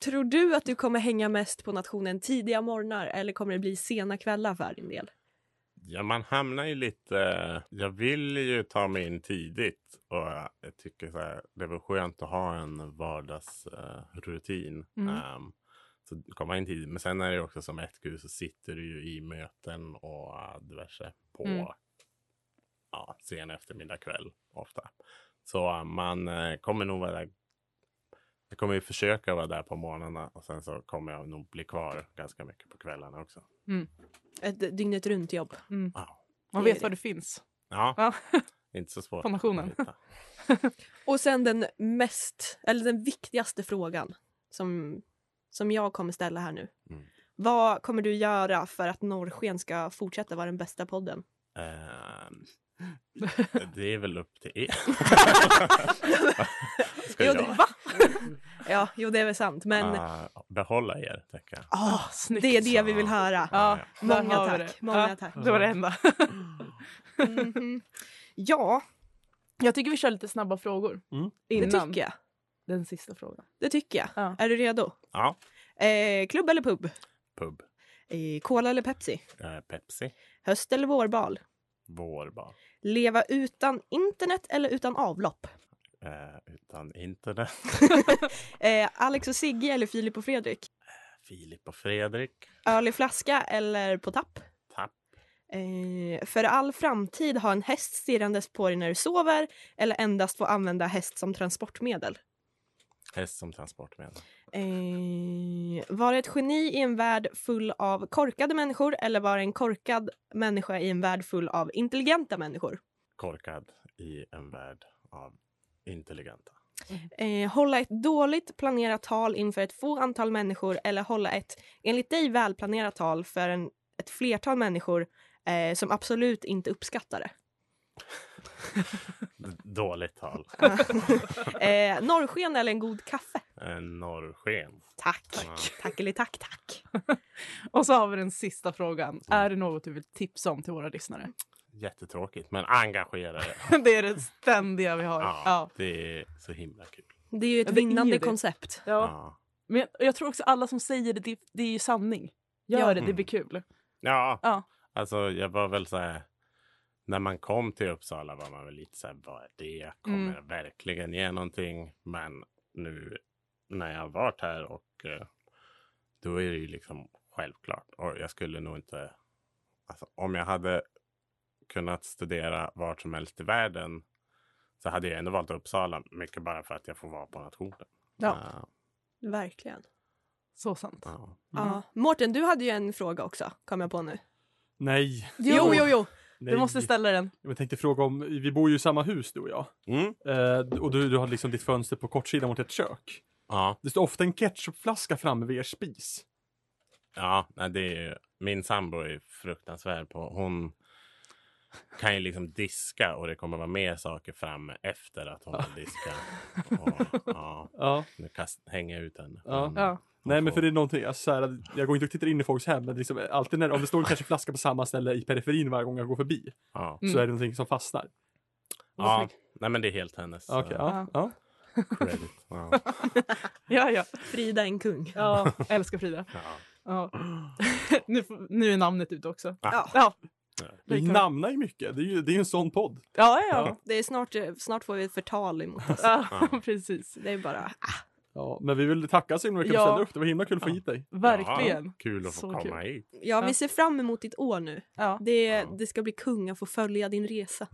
tror du att du kommer hänga mest på nationen tidiga morgnar eller kommer det bli sena kvällar för din del? ja, man hamnar ju lite... Jag vill ju ta mig in tidigt. Och jag jag tycker så här, det var skönt att ha en vardagsrutin. Mm. Ehm, så komma in tidigt. Men sen är det ju också som ett så sitter du ju i möten och eh, diverse på Mm. ja, sen eftermiddag kväll ofta. Så eh, man eh, kommer nog vara jag kommer ju försöka vara där på morgnarna och sen så kommer jag nog bli kvar ganska mycket på kvällarna också. Ett dygnet runt jobb. Mm. Ja. Man Det är vet var det finns. Ja, Ja. inte så svårt. På nationen. att hitta. Och sen den mest, eller den viktigaste frågan som, som jag kommer ställa här nu. Mm. Vad kommer du göra för att Norrsken ska fortsätta vara den bästa podden? Ehm, det är väl upp till er. Jo, Ska jag det, va? (laughs) ja, jo, det är väl sant. Men ah, behålla er, tänker jag. ah, snyggt. det är det vi vill höra. Ja, där Många har vi tack, det. många ja, tack. Det var det enda. Mhm. Ja, Jag tycker vi kör lite snabba frågor. Mm. det Innan tycker jag. den sista frågan. Det tycker jag. Ja. Är du redo? Ja, Eh, klubb eller pub? pub. Eh, cola eller Pepsi? Eh, Pepsi. Höst eller vårbal? Vårbar. Leva utan internet eller utan avlopp? Eh, utan internet. (laughs) Eh, Alex och Sigge eller Filip och Fredrik? Filip och Fredrik. Öl i flaska eller på tapp? Tapp. Eh, för all framtid ha en häst stirrandes på dig när du sover eller endast få använda häst som transportmedel? Häst som transportmedel. Eh, vara ett geni i en värld full av korkade människor eller vara en korkad människa i en värld full av intelligenta människor? Korkad i en värld av intelligenta. Eh, hålla ett dåligt planerat tal inför ett få antal människor eller hålla ett, enligt dig, välplanerat tal för en, ett flertal människor eh, som absolut inte uppskattar (laughs) det. D- Dåligt tal. Eh, norrsken eller en god kaffe? Eh, Norrsken. Tack. Tack. Tack eller tack, tack. Och så har vi den sista frågan. Är det något du vill tipsa om till våra lyssnare? (laughs) Jättetråkigt, men engagerade. Det är det ständiga vi har. Ja, Ja. Det är så himla kul. Det är ju ett Ja, det är vinnande ju det. koncept. Ja. Ja. Men jag, jag tror också alla som säger det, det, det är ju sanning. Gör Ja. det, det blir Mm. kul. Ja. Ja. Alltså jag var väl så här. När man kom till Uppsala var man väl lite så här. Vad är det? Kommer Mm. jag verkligen ge någonting? Men nu när jag har varit här och eh, då är det ju liksom självklart. Och jag skulle nog inte. Alltså om jag hade kunnat studera vart som helst i världen så hade jag ändå valt Uppsala. Mycket bara för att jag får vara på nationen. Ja. Eh, Verkligen. Så sant. ja. Ja. Mårten, du hade ju en fråga också, kom jag på nu. Nej. Jo, jo, jo. Nej. Du måste ställa den. Jag tänkte fråga om, vi bor ju i samma hus du och jag. Mm. Eh, och du, du har liksom ditt fönster på kortsidan mot ett kök. ja. Det står ofta en ketchupflaska framme vid er spis. Ja, nej, det är ju, min sambo är fruktansvärd på. Hon kan ju liksom diska och det kommer vara mer saker fram efter att hon har diskat. Och, ja, Ja. nu kast, hänger jag ut henne. Ja. Men Ja. hon Nej men får- för det är någonting, alltså, så här, att jag går inte och tittar in i folks hem men liksom, alltid när, om det står en kanske flaska på samma ställe i periferin varje gång jag går förbi Ja. så Mm. är det någonting som fastnar. ja. Nej men det är helt hennes. Okej, eh, ja, (laughs) ja. credit. Ja. Ja, ja. Frida en kung. ja. (laughs) Älskar Frida. Ja. Ja. (laughs) nu, får- nu är namnet ute också. Ja. Ja, Vi namnar ju mycket, det är ju det är ju en sån podd. ja, ja. Ja, det är snart, eh, snart får vi ett förtal emot oss. ja. Ja. (laughs) precis. Det är bara... Ja, men vi vill tacka så himla mycket för att Ja. du ställde upp, det var himla kul att få hit dig. Verkligen. Ja, kul att få Så komma hit. Ja, vi ser fram emot ditt år nu. Ja. Det, Ja. det ska bli kung att få följa din resa.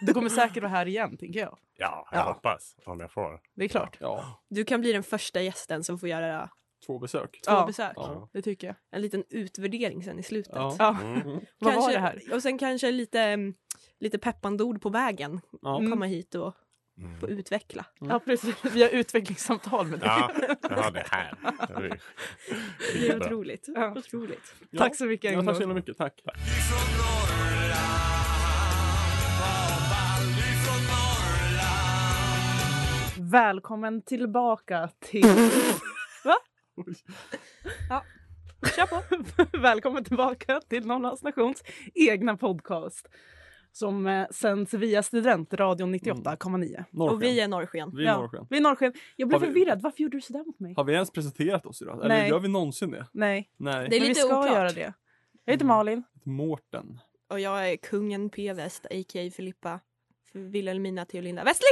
Du kommer säkert vara här igen, tänker jag. Ja, jag Ja. hoppas. Om jag får. Det är klart. Ja, Du kan bli den första gästen som får göra två besök. två Ja. besök. Ja. Det tycker jag. En liten utvärdering sen i slutet. Ja. Ja. Mm. Vad var det här? Och sen kanske lite, mm, lite peppande ord på vägen. Ja. Mm. Komma hit och Mm. få utveckla. Ja, precis. Vi har utvecklingssamtal med dig. Ja, jag har det (laughs) här. Det är Det är skitbra. otroligt. Ja. otroligt. Ja. Tack så mycket, Ja, tack Agnes. så himla mycket, tack. Ifrån Norrland, vad ball Ifrån Norrland Välkommen tillbaka (laughs) till... Kör på! (laughs) Välkommen tillbaka till Norrlands Nations egna podcast som eh, sänds via Studentradion 98,9. Norrsken. Och vi är norrsken. Mm. vi är Norrsken. Vi är Norrsken. Jag blev Har vi- förvirrad. Varför gjorde du sådär mot mig? Har vi ens presenterat oss idag? Eller Nej. gör vi någonsin det? Nej, Nej. Det är men vi lite ska oklart. göra det. Jag heter Mm. Malin. Mårten. Och jag är kungen P. West, a.k.a. Filippa, Vilhelmina, Theolinda Westling!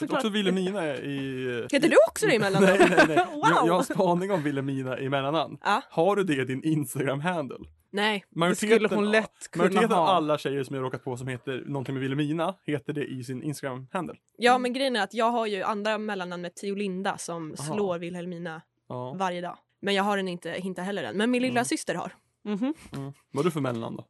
Vet också Vilhelmina är i... Heter du också det (laughs) emellan? Nej, nej, nej. Wow. Jag, jag har spaning om Vilhelmina i mellannamn. Ja. Har du det i din Instagram-handle? Nej. Det skulle hon lätt kunna majoriteten av ha. alla tjejer som jag råkat på som heter någonting med Vilhelmina heter det i sin Instagram-handle. Ja, men grejen är att jag har ju andra mellannamnet Theolinda som Aha. slår Vilhelmina Ja. varje dag. Men jag har den inte, inte heller än. Men min lilla Mm. syster har. Mhm. Vad är du för mellannamn då?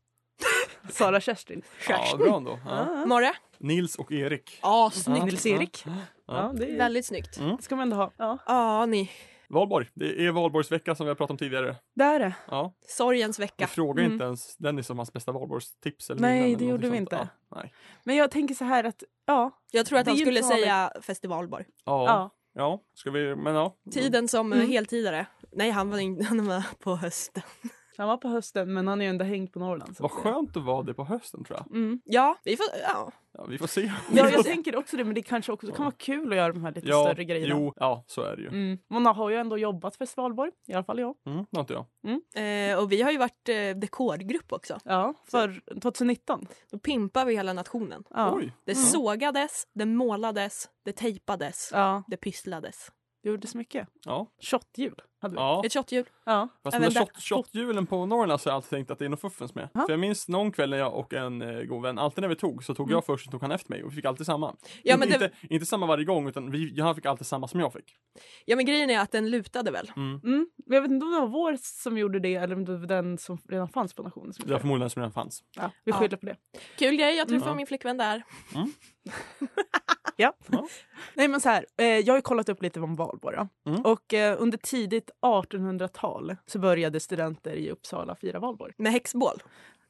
Sara Kerstin. Ah. Ja, bra ändå. Ja. Morre? Nils och Erik. Ja, snyggt. Nils-Erik. Ja. Ja, det är- Väldigt snyggt. Mm. det ska man ändå ha. Ja. Ja, ni. Valborg. Det är valborgsvecka som vi har pratat om tidigare. Det är det. Ja. Sorgens Vi vecka. frågar Mm. inte ens Dennis om hans bästa valborgstips. Eller Nej, minnen det eller gjorde någonting vi sånt. inte. Ja, nej. Men jag tänker så här att, ja. Jag tror att Det är han ju skulle inte så vanligt. säga festivalborg. Ja. ja. ja. Ska vi... Men ja. Tiden som eh, Mm. heltidare. Nej, han var, in, (laughs) han var på hösten. Han var på hösten men han är ju ändå hängt på Norrland. så Vad att säga. skönt att vara det på hösten tror jag. Mm. Ja, vi får... Ja. (laughs) Ja, vi får se. Ja, jag tänker också det, men det kanske också kan vara kul att göra de här lite Ja, större grejerna. Jo, ja så är det ju. Mm. Man har ju ändå jobbat för Svalborg, i alla fall jag. Mm, det har inte jag. Eh, och vi har ju varit eh, dekorgrupp också. Ja, för 2019. Då pimpar vi hela nationen. Ja. Oj. Det sågades, det målades, det tejpades, Ja, det pysslades. det gjordes mycket. Ja. Shotjul hade vi. ja. Ett shotljud. Ja. Fast med Även shot, där- shothjulen på Norrland så har jag alltid tänkt att det är något fuffens med. Ja. För jag minns någon kväll när jag och en eh, god vän, alltid när vi tog så Mm. tog jag först och tog han efter mig och vi fick alltid samma. Ja, inte, men det- (laughs) inte, inte samma varje gång utan vi, han fick alltid samma som jag fick. Ja, men grejen är att den lutade väl. Mm. Men Jag vet inte om det var vår som gjorde det eller om det var den som redan fanns på nationen. Som Det var gjorde det. förmodligen som den fanns. Ja, vi Ja. skyller på det. Kul grej, jag träffade Mm. min flickvän där. (laughs) Nej men så här, eh, jag har ju kollat upp lite om Valborg. ja. Mm. Och eh, under tidigt 1800-tal så började studenter i Uppsala fira Valborg. Med häxbål.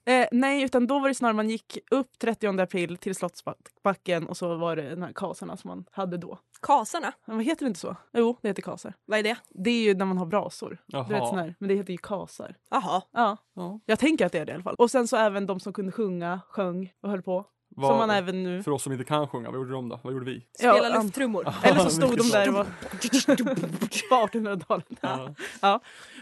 Eh, nej, utan då var det snarare man gick upp 30 april till Slottsbacken och så var det de här kasarna som man hade då. Kasarna, Men vad heter det inte så? Jo, det heter kasar. vad är det? Det är ju när man har brasor. Jaha. Du vet, sån här. Men det heter ju kasar. Jaha. Ja, Ja. jag tänker att det är det i alla fall. Och sen så även de som kunde sjunga, sjöng och höll på. Vad- Som man (laughs) även nu... För oss som inte kan sjunga, vad gjorde de då? Vad gjorde vi? Spela Ja, lufttrummor. Eller så stod de Mycket där och var (laughs) på 1800-talet. Ja.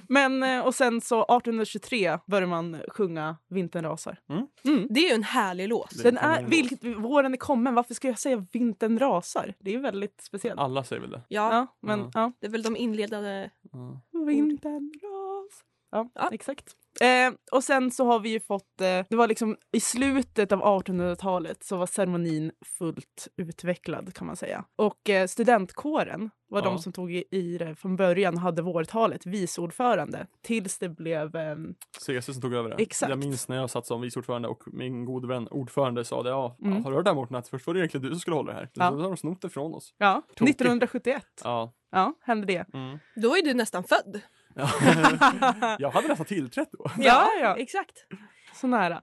Men eh, och sen så 1823 började man sjunga Vintern rasar. Mm. Det är ju en härlig låt. Det är Den en är, kanonlåt. vilket, våren är kommen, varför ska jag säga Vintern rasar? Det är ju väldigt speciellt. Alla säger väl det? Ja, Ja, men Mm. ja. det är väl de inledande... Ja. Vintern rasar. Ja, Ja. exakt. Eh, och sen så har vi ju fått, eh, det var liksom i slutet av 1800-talet så var ceremonin fullt utvecklad kan man säga. Och eh, studentkåren var Ja. de som tog i, i det från början och hade vårtalet, viceordförande, tills det blev eh, CC som tog över det. Exakt. Jag minns när jag satt som vice ordförande och min gode vän ordförande sa det. Ja, Mm. ja, har du hört det här Mårten? Att först var det egentligen du som skulle hålla det här. Ja. Så har de snott det från oss. ja, Tokigt. 1971. Ja. Ja. hände det. (laughs) Mm. (laughs) Då var ju du nästan född. jag hade nästan tillträtt då. Mm. Ja, ja. Exakt. så nära.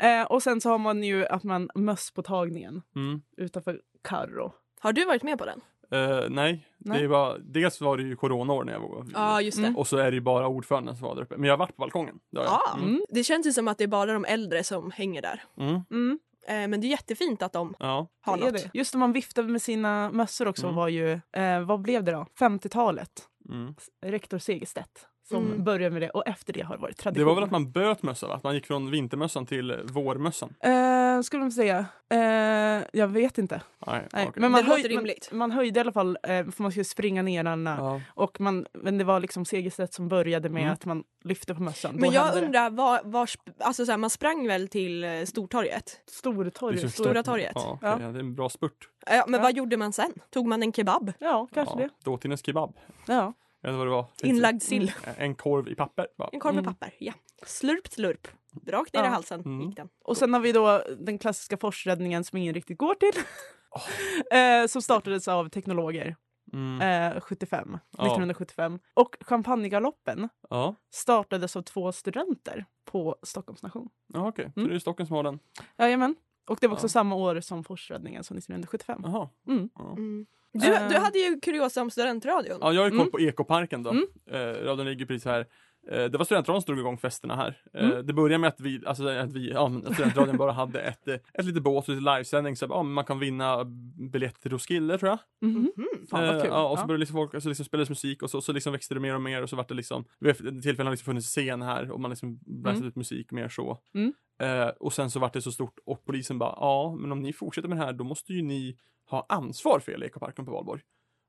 Eh, och sen så har man ju att man möss på tagningen Mm. utanför Karro. Har du varit med på den? Eh, nej, Nej. det var, dels var det ju coronaår när jag var Ja, just det. Mm. Och så är det ju bara ordföranden som var där uppe. Men jag har varit på balkongen. Det har jag. Ah. Ja. Det känns ju som att det är bara de äldre som hänger där. Mm. Mm, Eh, men det är jättefint att de Ja. har det är något. det. Just när man viftade med sina mössor också Mm. var ju, eh, vad blev det då? 50-talet. Mm. Rektor Segerstedt som Mm. började med det och efter det har det varit tradition. Det var väl att man böt mössa va? Att man gick från vintermössan till eh, vårmössan? Eh, skulle man säga. Eh, jag vet inte. Nej, Nej. okej. Det låter rimligt. Man, man höjde i alla fall, eh, för man skulle springa ner alla. ja. Och man, men det var liksom Segerstedt som började med Mm. att man lyfte på mössan. Då Men jag hände det. undrar, var, var, sp- alltså så här, man sprang väl till eh, Stortorget? Det är Stortorget. så Stor... Stora torget? Ja, Ja, okej, Ja. ja, det är en bra spurt. men Ja. vad gjorde man sen? Tog man en kebab? Ja, kanske ja. det. Dåtidens kebab. Ja. Jag vet inte vad det var. Inlagd sill? En korv i papper. Va? En korv med Mm. papper? Ja. Slurp slurp. Rakt ner Ja. i halsen Mm. gick den. Och sen har vi då den klassiska forsräddningen som ingen riktigt går till. (laughs) eh, som startades av teknologer Mm. eh, 75, Ja. 1975. Och champagnegaloppen Ja, startades av två studenter på Stockholms nation. ja okej. Så Mm. det är Stockholm som har den. Jajamän. Och det var också Ja. samma år som forsräddningen, som 1975. Jaha. Mm. Ja. Du, Eh. du hade ju kuriosa om studentradion. Ja, jag har ju koll Mm. på Ekoparken då. Mm. Eh, radion ligger precis här. Eh, det var studentradion som drog igång festerna här. Eh, Mm. Det började med att vi, alltså att vi, ja men att studentradion bara hade ett, eh, ett litet bås och lite livesändning så att, ja, men man kan vinna biljett till Roskilde tror jag. Mhm. Mhm. Fan vad Eh, kul. ja, och så Ja. började liksom folk, alltså liksom spelades musik och så, så liksom växte det mer och mer och så vart det liksom, vid ett tillfälle har det liksom funnits scen här och man liksom bläsat ut musik mer så. Mm. Eh, och sen så vart det så stort och polisen bara, ja men om ni fortsätter med det här då måste ju ni ha ansvar för hela Ekoparken på valborg.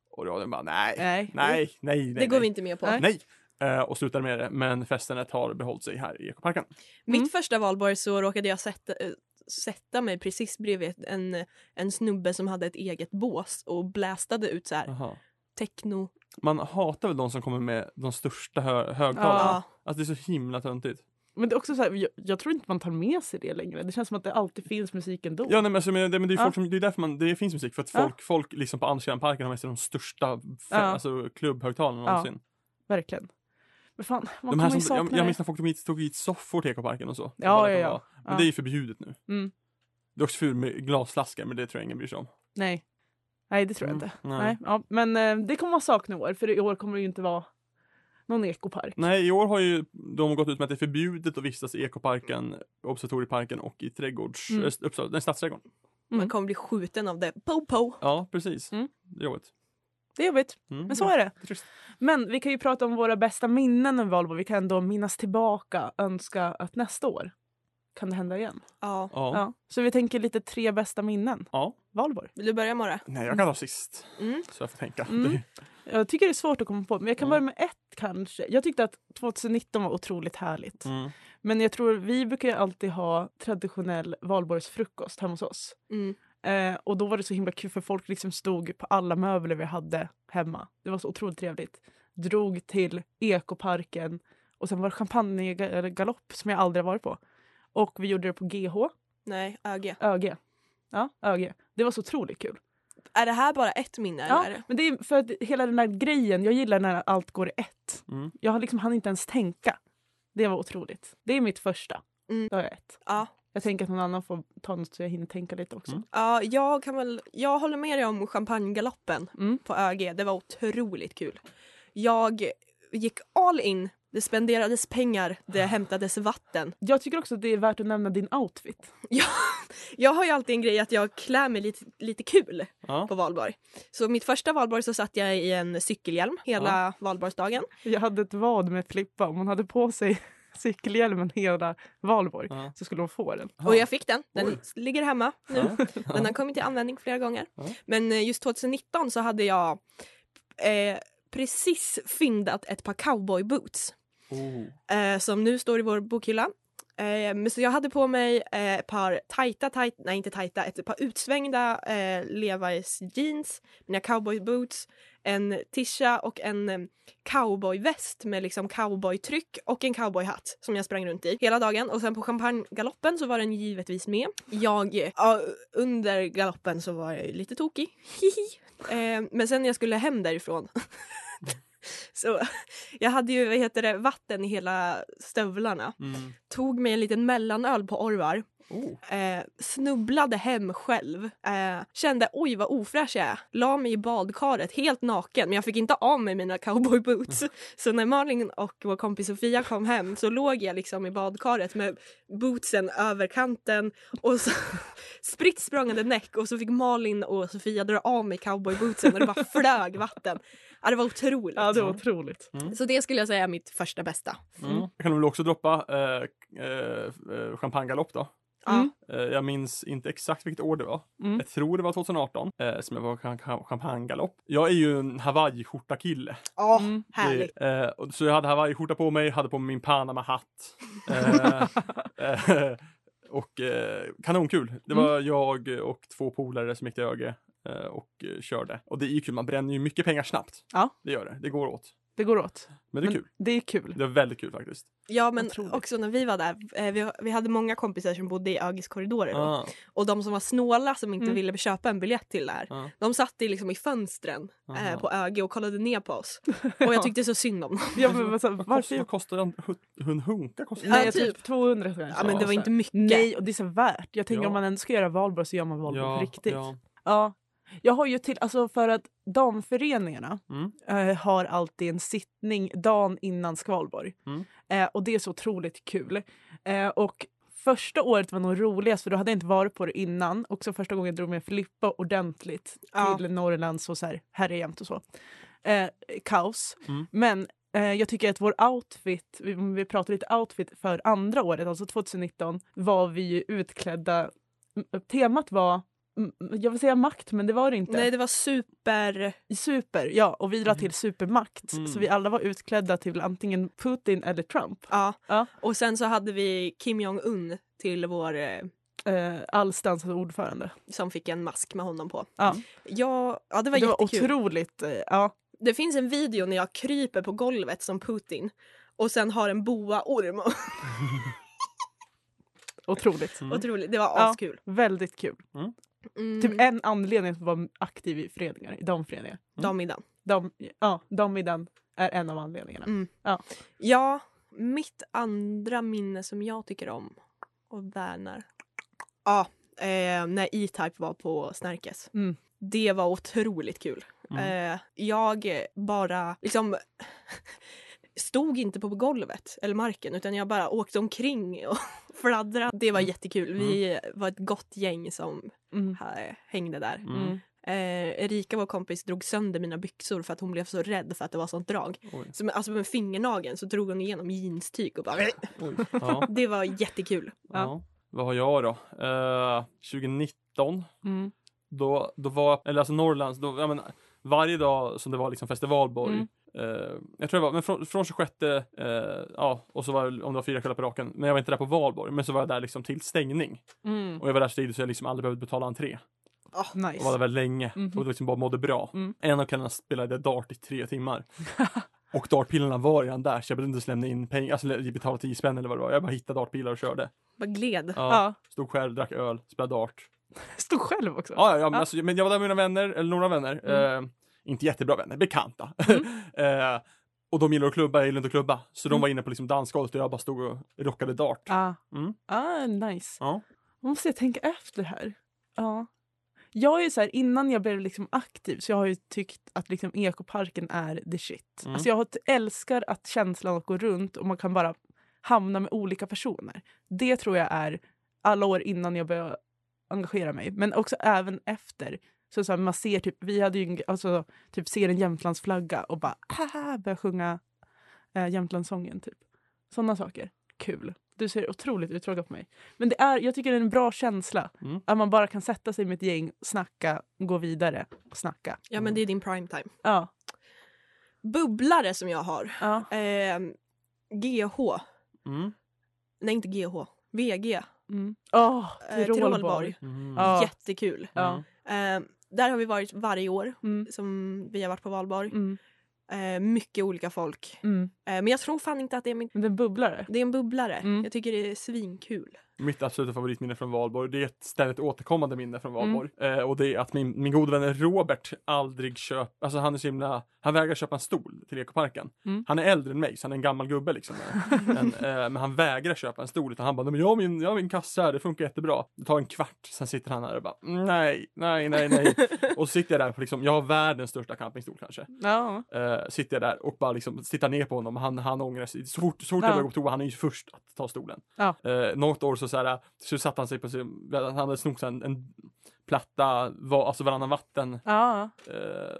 Och radion bara, nej, nej, Nej. nej, nej. Det går vi inte med på. Nej. Nej! Eh, och slutade med det, men festandet har behållit sig här i Ekoparken. Mm. Mitt första valborg så råkade jag sätta, eh, sätta mig precis bredvid en, en snubbe som hade ett eget bås och blästade ut så här techno. Man hatar väl de som kommer med de största hö- högtalarna. Ja. Alltså det är så himla töntigt. Men det är också så här, jag, jag tror inte man tar med sig det längre. Det känns som att det alltid finns musik ändå. Ja, nej, men, alltså, men, det, men det är ju Ja. folk som, det är därför man, det finns musik. För att Ja. folk, folk liksom på Amsterdamparken har med sig de största fe- Ja. alltså, klubbhögtalarna Ja. någonsin. Verkligen. Men fan, man De här kommer som, ju sakna jag, jag minns när folk tog hit, tog hit soffor till Ekoparken och så. Ja, Bara att ja, de ja. bara- Men Ja. det är ju förbjudet nu. Mm. Det är också fult med glasflaskor, men det tror jag ingen bryr sig om. Nej. Nej, det tror jag inte. Mm, nej. Nej. Ja, men eh, det kommer man sakna i år, för i år kommer det ju inte vara någon ekopark. Nej, i år har ju de gått ut med att det är förbjudet att vistas i Ekoparken, Observatorieparken och i trädgårds... Mm. eh, Uppsala, nej, Stadsträdgården. Man kommer bli skjuten av det. Po, po. Ja, precis. Mm. Det är jobbigt. Det är jobbigt, Mm. men så är det. är trist. Men vi kan ju prata om våra bästa minnen med Valborg. Vi kan ändå minnas tillbaka, önska att nästa år kan det hända igen. Ja. Ja. Ja. Så vi tänker lite tre bästa minnen. Ja. Valborg. Vill du börja Mara? Nej, jag kan ta sist. Mm. Så jag får tänka. Mm. Det- Jag tycker det är svårt att komma på, men jag kan Mm. börja med ett kanske. Jag tyckte att 2019 var otroligt (laughs) härligt. Mm. Men jag tror vi brukar ju alltid ha traditionell valborgsfrukost hemma hos oss. Mm. Eh, och då var det så himla kul för folk liksom stod på alla möbler vi hade hemma. Det var så otroligt trevligt. Drog till ekoparken och sen var det champagnegalopp som jag aldrig har varit på. Och vi gjorde det på GH, Nej, öga. ÖG. Ja, ÖG. Det var så otroligt kul. Är det här bara ett minne? Ja, Eller? men det är för att hela den här grejen, jag gillar när allt går i ett. Mm. Jag har liksom hann inte ens tänka. Det var otroligt. Det är mitt första. Mm. Då har jag ett. Ja. Jag tänker att någon annan får ta något så jag hinner tänka lite också. Mm. Ja, jag, kan väl, jag håller med dig om champagnegaloppen Mm. på ÖG. Det var otroligt kul. Jag gick all in. Det spenderades pengar, det hämtades vatten. Jag tycker också att det är värt att nämna din outfit. Jag, jag har ju alltid en grej att jag klär mig lite, lite kul Ja. på valborg. Så mitt första valborg så satt jag i en cykelhjälm hela valborgsdagen. Jag hade ett vad med Filippa. Om hon hade på sig (laughs) cykelhjälmen hela valborg Ja. så skulle hon få den. Och jag fick den. Den Oj. ligger hemma nu. Ja. Den har kommit till användning flera gånger. Ja. Men eh, just 2019 så hade jag eh, precis fyndat ett par cowboyboots (laughs) Oh. eh, som nu står i vår bokhylla. Eh, men så jag hade på mig eh, ett par tajta, tajt, nej inte tajta, ett par utsvängda eh, Levi's jeans, mina cowboyboots, en tisha och en eh, cowboyväst med liksom cowboytryck och en cowboyhatt som jag sprang runt i hela dagen. Och sen på champagnegaloppen så var den givetvis med. Jag, ja, under (laughs) galoppen så var jag ju lite tokig. Hihi. Eh, men sen när jag skulle hem därifrån (laughs) Så jag hade ju vad heter det, vatten i hela stövlarna. Mm. Tog mig en liten mellanöl på Orvar. Oh. Eh, snubblade hem själv. Eh, kände oj vad ofräsch jag är. La mig i badkaret helt naken men jag fick inte av mig mina cowboyboots. Mm. (laughs) Så när Malin och vår kompis Sofia kom hem så låg jag liksom i badkaret med bootsen över kanten och så (laughs) spritt språngande näck och så fick Malin och Sofia dra av mig cowboybootsen och det bara flög vatten. Ja, det var otroligt. Ja, det var otroligt. Så det skulle jag säga är mitt första bästa. Mm. Jag kan väl också droppa eh, k- eh, eh, champagnegalopp då. Ja. Mm. Eh, jag minns inte exakt vilket år det var. Mm. Jag tror det var 2018 eh, som jag var på champ- champagnegalopp. Jag är ju en hawaii-skjorta-kille. Åh, Mm. härligt. Det- Eh, och- så jag hade hawaiiskjorta på mig, hade på mig min Panama-hatt. Eh, eh, och eh, kanonkul. Det var jag och två polare som gick till ÖG eh, och eh, körde. Och det är ju kul, man bränner ju mycket pengar snabbt. Ja. Det gör det, det går åt. Det går åt. Men det är Men kul. Det är kul. Det är väldigt kul faktiskt. Ja men Otroligt. också när vi var där, eh, vi, vi hade många kompisar som bodde i Ögis Eh, korridorer då. Ah, och de som var snåla som inte Mm. ville köpa en biljett till det här. Ja. De satt i, liksom, i fönstren eh, Aha. på Ögi och kollade ner på oss. (laughs) Och jag tyckte så synd om dem. Ja, men, alltså, vad varför? kostar, vad kostar en, hu- en hunka? Kostar Ja, Nej, jag tror typ. typ 200 kanske. Ja, men det var inte mycket. Nej, och det är så värt. Jag tänker Ja. om man ändå ska göra valborg så gör man valborg på riktigt. ja. Ja. Jag har ju till, alltså för att damföreningarna Mm. eh, har alltid en sittning dagen innan skvalborg. Mm. Eh, och det är så otroligt kul. Eh, och första året var nog roligast för då hade jag inte varit på det innan. Också första gången jag drog med Filippa ordentligt Ja. till Norrland så, så här, här är jämt och så. Eh, kaos. Mm. Men eh, jag tycker att vår outfit, vi, om vi pratar lite outfit för andra året, alltså 2019, var vi ju utklädda. m- Temat var, m- jag vill säga makt men det var det inte. Nej det var super... I Super, ja. Och vi la till supermakt. Mm. Så vi alla var utklädda till antingen Putin eller Trump. Ja. Ja. Och sen så hade vi Kim Jong-Un till vår eh, Eh, Allstans ordförande. som fick en mask med honom på. Ja. Ja, ja det var Det var jättekul. otroligt. Eh, ja. det finns en video när jag kryper på golvet som Putin och sen har en boaorm. Mm. Otroligt. Otroligt, det var Ja. askul. Mm. Väldigt kul. Mm. Typ en anledning att vara aktiv i föreningar, i damföreningar. Dammiddagen. Dam, ja, dammiddagen är en av anledningarna. Mm. Ja. Ja, mitt andra minne som jag tycker om och värnar. Ja, eh, när E-Type var på Snärkes. Mm. Det var otroligt kul. Eh, jag bara liksom (laughs) stod inte på golvet eller marken utan jag bara åkte omkring och (laughs) fladdrade. Det var jättekul. Vi var ett gott gäng som Mm. eh, hängde där. Mm. Eh, Erika, vår kompis, drog sönder mina byxor för att hon blev så rädd för att det var sånt drag. Oj. Så med, alltså med fingernageln så drog hon igenom jeanstyg och bara... (laughs) Oj. Ja, Det var jättekul. ja. Vad har jag då? Eh, 2019 Mm. då, då var, eller alltså Norrlands, då, ja, men, varje dag som det var liksom festivalborg, Mm. eh, jag tror det var, men från, från 26, eh, ja, och så var det, om det var fyra kvällar på raken, men jag var inte där på valborg, men så var jag där liksom till stängning. Mm. Och jag var där så tidigt så jag liksom aldrig behövde betala entré. Och var där Nice. väldigt länge Mhm. och liksom bara mådde bra. Mm. En av kvällarna spelade jag dart i tre (laughs) timmar. och dartpilarna var redan där så jag behövde inte ens lämna in pengar, alltså betala 10 spänn eller vad det var. Jag bara hittade dartpilar och körde. Vad gled. Ja. Ja. Stod själv, drack öl, spelade dart. Stod själv också. Ja, ja, ja, men, Alltså, men jag var där med mina vänner, eller några vänner. Mm. Eh, inte jättebra vänner, bekanta. (laughs) eh, och de gillar att klubba, jag gillar inte att klubba. Så Mm. de var inne på liksom dansgolvet och jag bara stod och rockade dart. Ah. Mm. Ah, nice. Ja. Nu måste jag tänka efter här. Ja. Jag är ju så här, innan jag blev liksom aktiv så jag har ju tyckt att liksom ekoparken är the shit. Mm. Alltså jag har- älskar att känslan att gå runt och man kan bara hamna med olika personer. Det tror jag är alla år innan jag började engagera mig, men också även efter. Så, så här, man ser typ, vi hade ju en, alltså, typ ser en Jämtlandsflagga och bara haha, börjar sjunga eh, Jämtlandssången typ. Sådana saker. Kul. Du ser otroligt uttråkad på mig. Men det är, jag tycker det är en bra känsla. Mm. Att man bara kan sätta sig med ett gäng, snacka, gå vidare och snacka. Ja, men det Mm. är din prime time. Ja. Bubblare som jag har. ja. Eh, GH. Mm. Nej, inte GH. VG. Mm. Åh, Eh, Tirolborg. Tirolborg. Mm. Ja. Jättekul. Ja. Eh, där har vi varit varje år Mm. som vi har varit på valborg. Mm. Eh, mycket olika folk. Mm. Eh, men jag tror fan inte att det är min... Men den bubblar. Det är en bubblare. Mm. Jag tycker det är svinkul. Mitt absoluta favoritminne från valborg, det är ett ständigt återkommande minne från valborg. Eh, och det är att min, min gode vän Robert aldrig köper, alltså han är så himla, han vägrar köpa en stol till ekoparken. Mm. Han är äldre än mig, så han är en gammal gubbe liksom. men, eh, men han vägrar köpa en stol, utan han bara, "Nej, men jag har min, jag har min kassa här, det funkar jättebra. Det tar en kvart, sen sitter han här och bara, nej, nej, nej, nej. och så sitter jag där, på liksom, jag har världens största campingstol kanske. Ja. Eh, sitter jag där och bara liksom tittar ner på honom. Han, han ångrar sig. Så fort, så fort jag Ja. börjar gå på toa, han är ju först att ta stolen. Ja. Eh, något år så, så, här, så satt han sig på sin, han hade snott en, en platta, va, alltså varannan vatten. ja. Eh,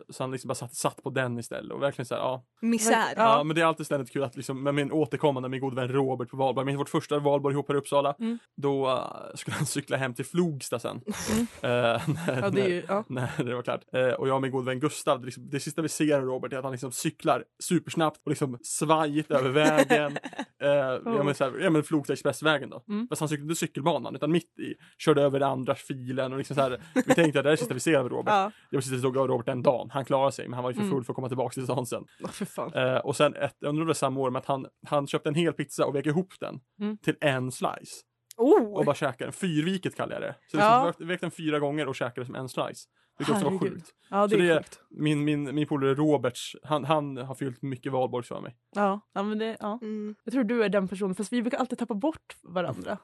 så han liksom bara satt, satt på den istället. Och verkligen så här, ja. Misär. Ja. ja. men det är alltid ständigt kul att liksom, med min återkommande, min gode vän Robert på valborg, min vårt första valborg ihop här i Uppsala, Mm. då eh, skulle han cykla hem till Flogsta sen. Eh, (laughs) när- Mm. ja, det är ju... Ja. (laughs) när det var klart. Eh, och jag och min god vän Gustav, det, liksom, det sista vi ser av Robert är att han liksom cyklar supersnabbt och liksom svajigt över (laughs) vägen. Eh, ja, men, så här, ja, men Flogsta expressvägen då. Oh. Mm. Fast han cyklade inte cykelbanan utan mitt i. Körde över den andra filen och liksom så här. Vi tänkte att det är det sista vi ser av Robert. Ja. Det var sista vi såg av Robert den dagen. Han klarade sig men han var ju för Mm. full för att komma tillbaka till stan sen. Åh, för fan. Eh, och sen, ett, jag undrar om det var samma år, men att han, han köpte en hel pizza och vek ihop den Mm. till en slice. Och Oh. bara käkade den. Fyrviket kallar jag det. Så Ja. liksom, vek den fyra gånger och käkade som en slice. Vilket också var Herregud. sjukt. Ja, det så det är är- sjukt. Min, min, min polare Roberts, han, han har fyllt mycket valborg för mig. Ja. Ja, men det, ja. Mm. Jag tror du är den personen, fast vi brukar alltid tappa bort varandra.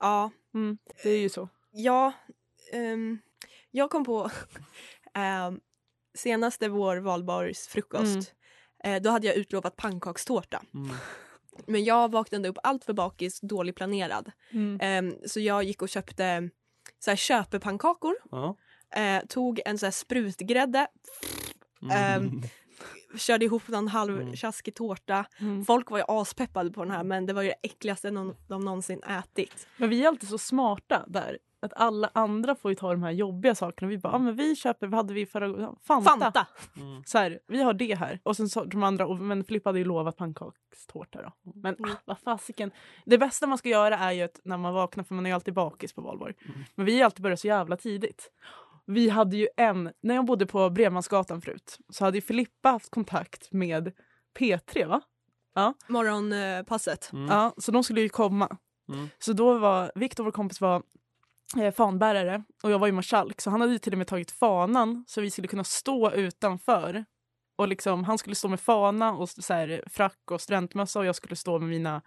Ja. Mm. Det är ju så. Ja, ehm, jag kom på (laughs) ehm, senaste vår Mm. valborgsfrukost. Eh, då hade jag utlovat pannkakstårta. Men jag vaknade upp allt för bakis, dåligt planerad. Mm. Ehm, så jag gick och köpte så här, köpepannkakor. Ja. Eh, tog en så här, sprutgrädde, Mm. Ehm, körde ihop någon halv Mm. tjaskig tårta. Mm. Folk var ju aspeppade på den här men det var ju det äckligaste någon, de någonsin ätit. Men vi är alltid så smarta där. Att alla andra får ju ta de här jobbiga sakerna. Vi bara, ah, men vi köper, vad hade vi förra gången? Fanta. Fanta! Mm. Så här, vi har det här. Och sen så de andra, och, men Filippa hade ju lovat pannkakstårta då. Men ah, vad fasiken. Det bästa man ska göra är ju att när man vaknar, för man är ju alltid bakis på valborg. Men vi har alltid börjat så jävla tidigt. Vi hade ju en, när jag bodde på Brevmansgatan förut, så hade ju Filippa haft kontakt med P3 va? Morgonpasset. Mm. Ja, så de skulle ju komma. Mm. Så då var Viktor, vår kompis, var eh, fanbärare och jag var ju marskalk. Så han hade ju till och med tagit fanan så vi skulle kunna stå utanför. Och liksom, han skulle stå med fana och så här, frack och studentmössa och jag skulle stå med mina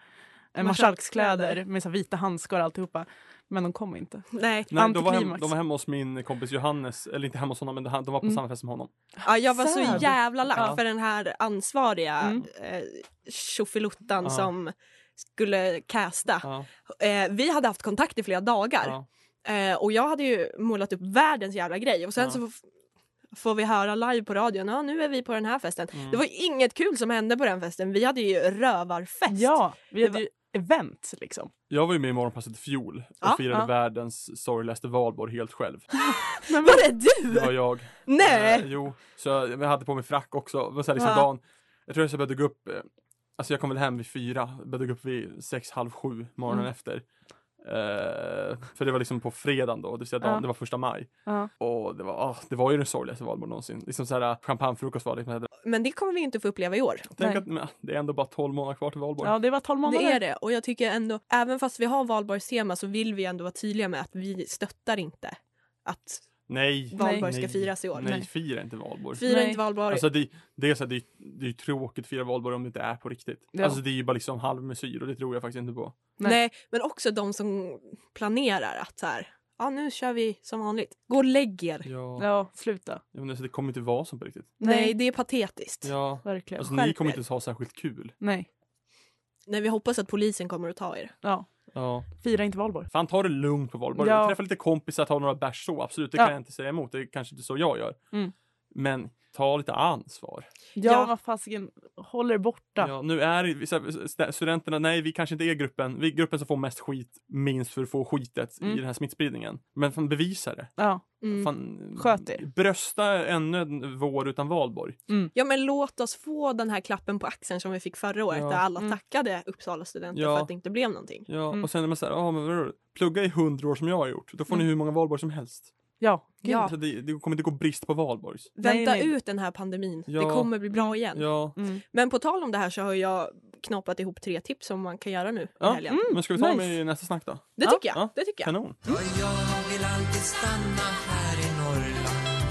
eh, marskalkskläder med så här, vita handskar och alltihopa. Men de kom inte. Nej, Nej, de, var hem, antiklimax. de var hemma hos min kompis Johannes, eller inte hemma hos honom, men han- de var på Mm. samma fest som honom. Ja, jag var så Sad. jävla lack Ja. för den här ansvariga Mm. eh, tjofiluttan Ja. som skulle casta. Ah, Ja, Eh, vi hade haft kontakt i flera dagar ja. eh, och jag hade ju målat upp världens jävla grej och sen Ja. så f- får vi höra live på radion, ja nu är vi på den här festen. Mm. Det var ju inget kul som hände på den festen, vi hade ju rövarfest. (laughs) Ja, vi Det hade ju event liksom. Jag var ju med i Morgonpasset i fjol och Ja, firade ja. världens sorgligaste valborg helt själv. Var det (laughs) du? Det var jag. Nej! Eh, jo, så jag jag hade på mig frack också. Men så här, liksom Ja. dagen, jag tror jag så började gå upp, eh, alltså jag kom väl hem vid fyra, började gå upp vid sex, halv sju morgonen Mm. efter. Eh, för det var liksom på fredagen då, det vill säga dagen, Ja. det var första maj. Ja. Och det var, ah, det var ju den sorgligaste valborg någonsin. Liksom så här, champagnefrukost var det. Liksom, Men det kommer vi inte få uppleva i år. tänk Nej. att men, det är ändå bara 12 månader kvar till valborg. Ja, det var tolv månader. Det är det och jag tycker ändå, även fast vi har valborgstema så vill vi ändå vara tydliga med att vi stöttar inte att Nej! valborg Nej. ska firas i år. Nej, fira inte valborg. Fira Nej. inte valborg. Alltså det, det är så här, det, är- det är ju tråkigt att fira valborg om det inte är på riktigt. Ja. Alltså det är ju bara liksom halvmesyr och det tror jag faktiskt inte på. nej. nej. men också de som planerar att så här, ja nu kör vi som vanligt. Gå och lägg er. Ja. Ja, sluta. Ja, men alltså, det kommer inte vara så på riktigt. Nej. Nej. det är patetiskt. Ja. Verkligen. Alltså Skärp ni kommer er. inte ens ha särskilt kul. Nej. Nej, vi hoppas att polisen kommer att ta er. Ja. Ja. Fira inte valborg. Fan ta det lugnt på valborg. Ja. Träffa lite kompisar, ta några bärs så. Absolut, det Ja. kan jag inte säga emot. Det är kanske inte så jag gör. Mm. Men ta lite ansvar. Ja, Ja. vad fasiken. Håll er borta. Ja, nu är det- så här, st- studenterna, nej vi kanske inte är gruppen. Vi är gruppen som får mest skit, minst för att få skitet i Mm. den här smittspridningen. Men fan bevisa det. Ja. Mm. Fan, Sköt er. Brösta ännu en vår utan valborg. Ja, men låt oss få den här klappen på axeln som vi fick förra året Ja. där alla Mm. tackade Uppsala studenter Ja. för att det inte blev någonting. Ja, Mm. och sen är man såhär, ah, men vadå? plugga i hundra år som jag har gjort. Då får Mm. ni hur många valborg som helst. Ja. Ja. Så det, det kommer inte gå brist på valborgs. Nej, Vänta nej. ut den här pandemin. Ja. Det kommer bli bra igen. Ja. Mm. Men på tal om det här så har jag knapat ihop tre tips om vad man kan göra nu i Ja, mm, helgen. men ska vi ta nice. dem i nästa snack då? Det Ja, tycker jag. ja. Det tycker jag. Kanon. Ja, jag vill alltid stanna här i Norrland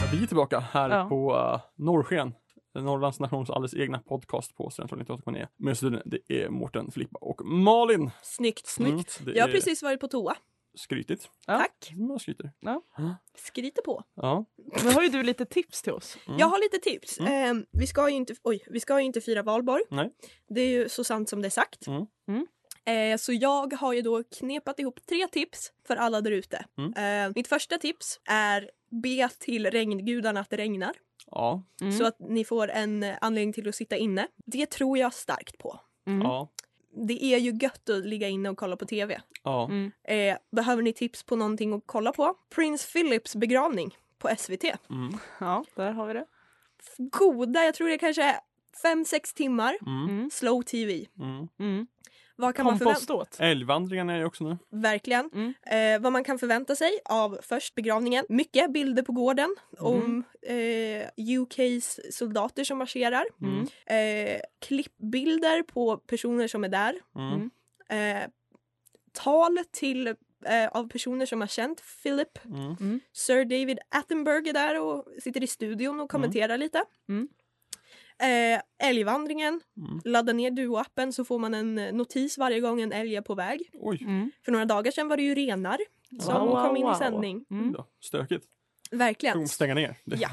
Ja, vi är tillbaka här Ja. på uh, Norrsken. Norrlands nations alldeles egna podcast på Studentradion 98,9. Med studion, det är Mårten, Filippa och Malin. Snyggt. Snyggt. Mm, det jag har är precis varit på toa. skrytigt. Ja. Tack. Man skryter. Skriter på. Ja. Nu har ju du lite tips till oss. Mm. Jag har lite tips. Eh, vi, ska ju inte, oj, vi ska ju inte fira valborg. Nej. Det är ju så sant som det är sagt. Mm. Mm. Eh, så jag har ju då knepat ihop tre tips för alla där ute. Mm. Eh, mitt första tips är be till regngudarna att det regnar. Ja. Mm. Så att ni får en eh, anledning till att sitta inne. Det tror jag starkt på. Mm. Ja. Det är ju gött att ligga inne och kolla på tv. Ja. Mm. Eh, behöver ni tips på någonting att kolla på? Prince Philips begravning på SVT. Mm. Ja, där har vi det. Goda, jag tror det kanske är 5-6 timmar. Mm. Mm. Slow TV. Mm. Mm. Vad kan man förvänta Kompoståt. Älgvandringarna är ju också nu. Verkligen. Mm. Eh, vad man kan förvänta sig av först begravningen. Mycket bilder på gården Mm. om eh, UKs soldater som marscherar. Mm. Eh, klippbilder på personer som är där. Mm. Mm. Eh, tal till, eh, av personer som har känt Philip. Mm. Sir David Attenborough är där och sitter i studion och kommenterar lite. Mm. Eh, älgvandringen. Mm. Ladda ner Duo-appen så får man en eh, notis varje gång en älg är på väg. Oj. Mm. För några dagar sedan var det ju renar som Wow, wow, kom in wow. i sändning. Oj Mm. Då. Stökigt. Tror Verkligen. de stänga ner. Det. Ja.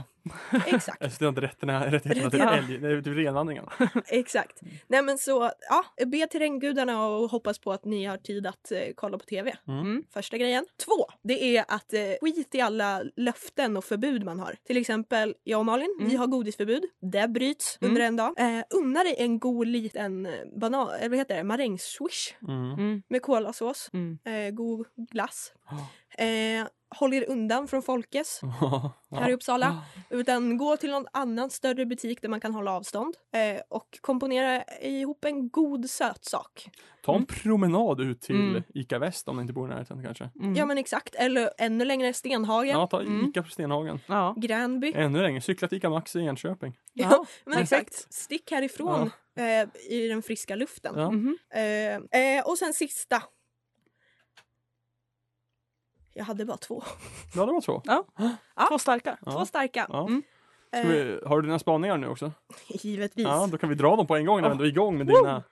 Exakt, SD Alltså, har inte rätterna, rättigheterna till Ja. älg. Det är typ till renvandringarna. exakt. Nej men så, ja, be till regngudarna och hoppas på att ni har tid att eh, kolla på TV. Mm. Första grejen. Två, det är att eh, skit i alla löften och förbud man har. Till exempel jag och Malin, vi har godisförbud. Det bryts Mm. under en dag. Eh, unna dig en god liten eh, banan, eller vad heter det, marängswish Mm. med kolasås. Mm. Eh, god glass. Eh, håll er undan från Folkes. här (laughs) i ja. Uppsala. Utan gå till någon annan större butik där man kan hålla avstånd eh, och komponera ihop en god sötsak. Ta en promenad ut till Mm. Ica Väst om ni inte bor i närheten kanske. Mm. Ja men exakt, eller ännu längre Stenhagen, Ja, ta Mm. Ica på Stenhagen. Ja. Gränby. Ännu längre. Cykla till Ica Maxi i Enköping. Ja, Ja, men exakt. Stick härifrån eh, i den friska luften. Ja. Mhm. Eh, eh, och sen sista. Jag hade bara två. Ja, det var så. Två starka. Ja. Två starka. Ja. Mm. Ska vi, har du dina spaningar nu också? Eh, givetvis. Ja, Mm. Ja, då kan vi dra dem på en gång när vi ändå är igång med dina.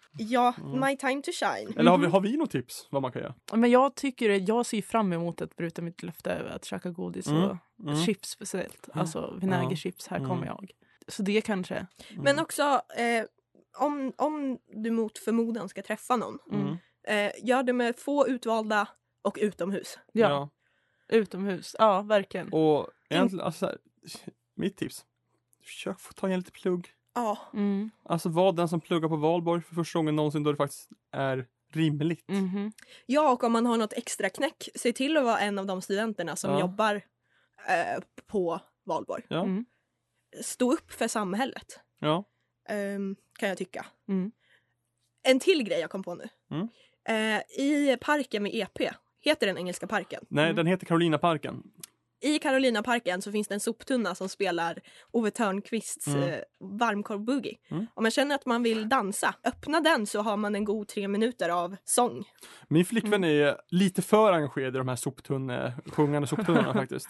my time to shine. Eller har Mm-hmm. vi, har vi något tips vad man kan göra? Men jag tycker det- jag ser fram emot att bryta mitt löfte att käka godis och Mm. chips speciellt. Alltså vinägerchips, här kommer Mm. jag. Så det kanske. Men också eh, om, om du mot förmodan ska träffa någon Mm. Eh, gör det med få utvalda och utomhus. Ja, utomhus. Ja, verkligen. Och egentligen, alltså, så här, mitt tips. Försök få ta en lite plugg. Ja, Mm. Alltså var den som pluggar på valborg för första gången någonsin då det faktiskt är rimligt. Mhm. ja och om man har något extra knäck, se till att vara en av de studenterna som Ja. jobbar eh, på valborg. Ja. Mm. Stå upp för samhället, Ja. ehm, kan jag tycka. Mm. En till grej jag kom på nu. Mm. Eh, I parken med EP, heter den Engelska parken. Nej, Mm. den heter Karolinaparken. I Carolinaparken så finns det en soptunna som spelar Ove Thörnqvists Mm. eh, varmkorv-boogie. Mm. Om man känner att man vill dansa, öppna den så har man en god tre minuter av sång. Min Mm. flickvän är lite för engagerad i de här soptunne, sjungande (laughs) soptunnorna faktiskt.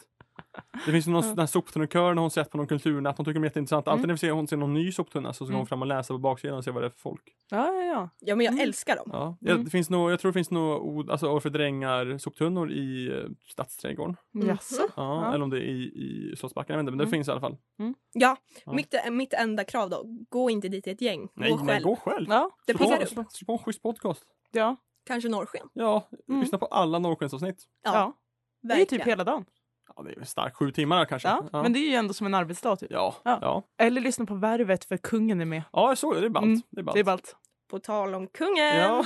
Det finns ju någon den här soptunnekören hon sett på någon kulturnatt. Hon tycker de är jätteintressanta. Mm. Alltid när vi ser, hon ser någon ny soptunna så ska hon fram och läsa på baksidan och se vad det är för folk. Ja, ja, ja. Ja men jag älskar dem. Mm. Ja. Jag, Mm. det finns nog, jag tror det finns nog ord, alltså ord för drängar, soptunnor i eh, stadsträdgården. Jaså? Ja, Ja. Mm. Eller om det är i, i Slottsbacken, jag vet inte, men det finns i alla fall. Ja, Ja. Mitt, eh, mitt enda krav då, gå inte dit i ett gäng. Nej, gå men själv. gå själv! Ja, Det Slå på- piggar upp. slå- Slå på en schysst podcast. ja. Kanske norrsken. Ja, Mm. lyssna på alla Norrskensavsnitt. Ja, ja. Det är ju Verkligen. typ hela dagen. Ja, det är starkt, sju timmar kanske. Ja. typ. ja. Men det är ju ändå som en arbetsdag. Typ. ja, Ja. ja. Eller lyssna på Värvet för kungen är med. ja jag såg det, det är ballt. Mm, Det är ballt. Det är ballt. Mm. På tal om kungen. Ja.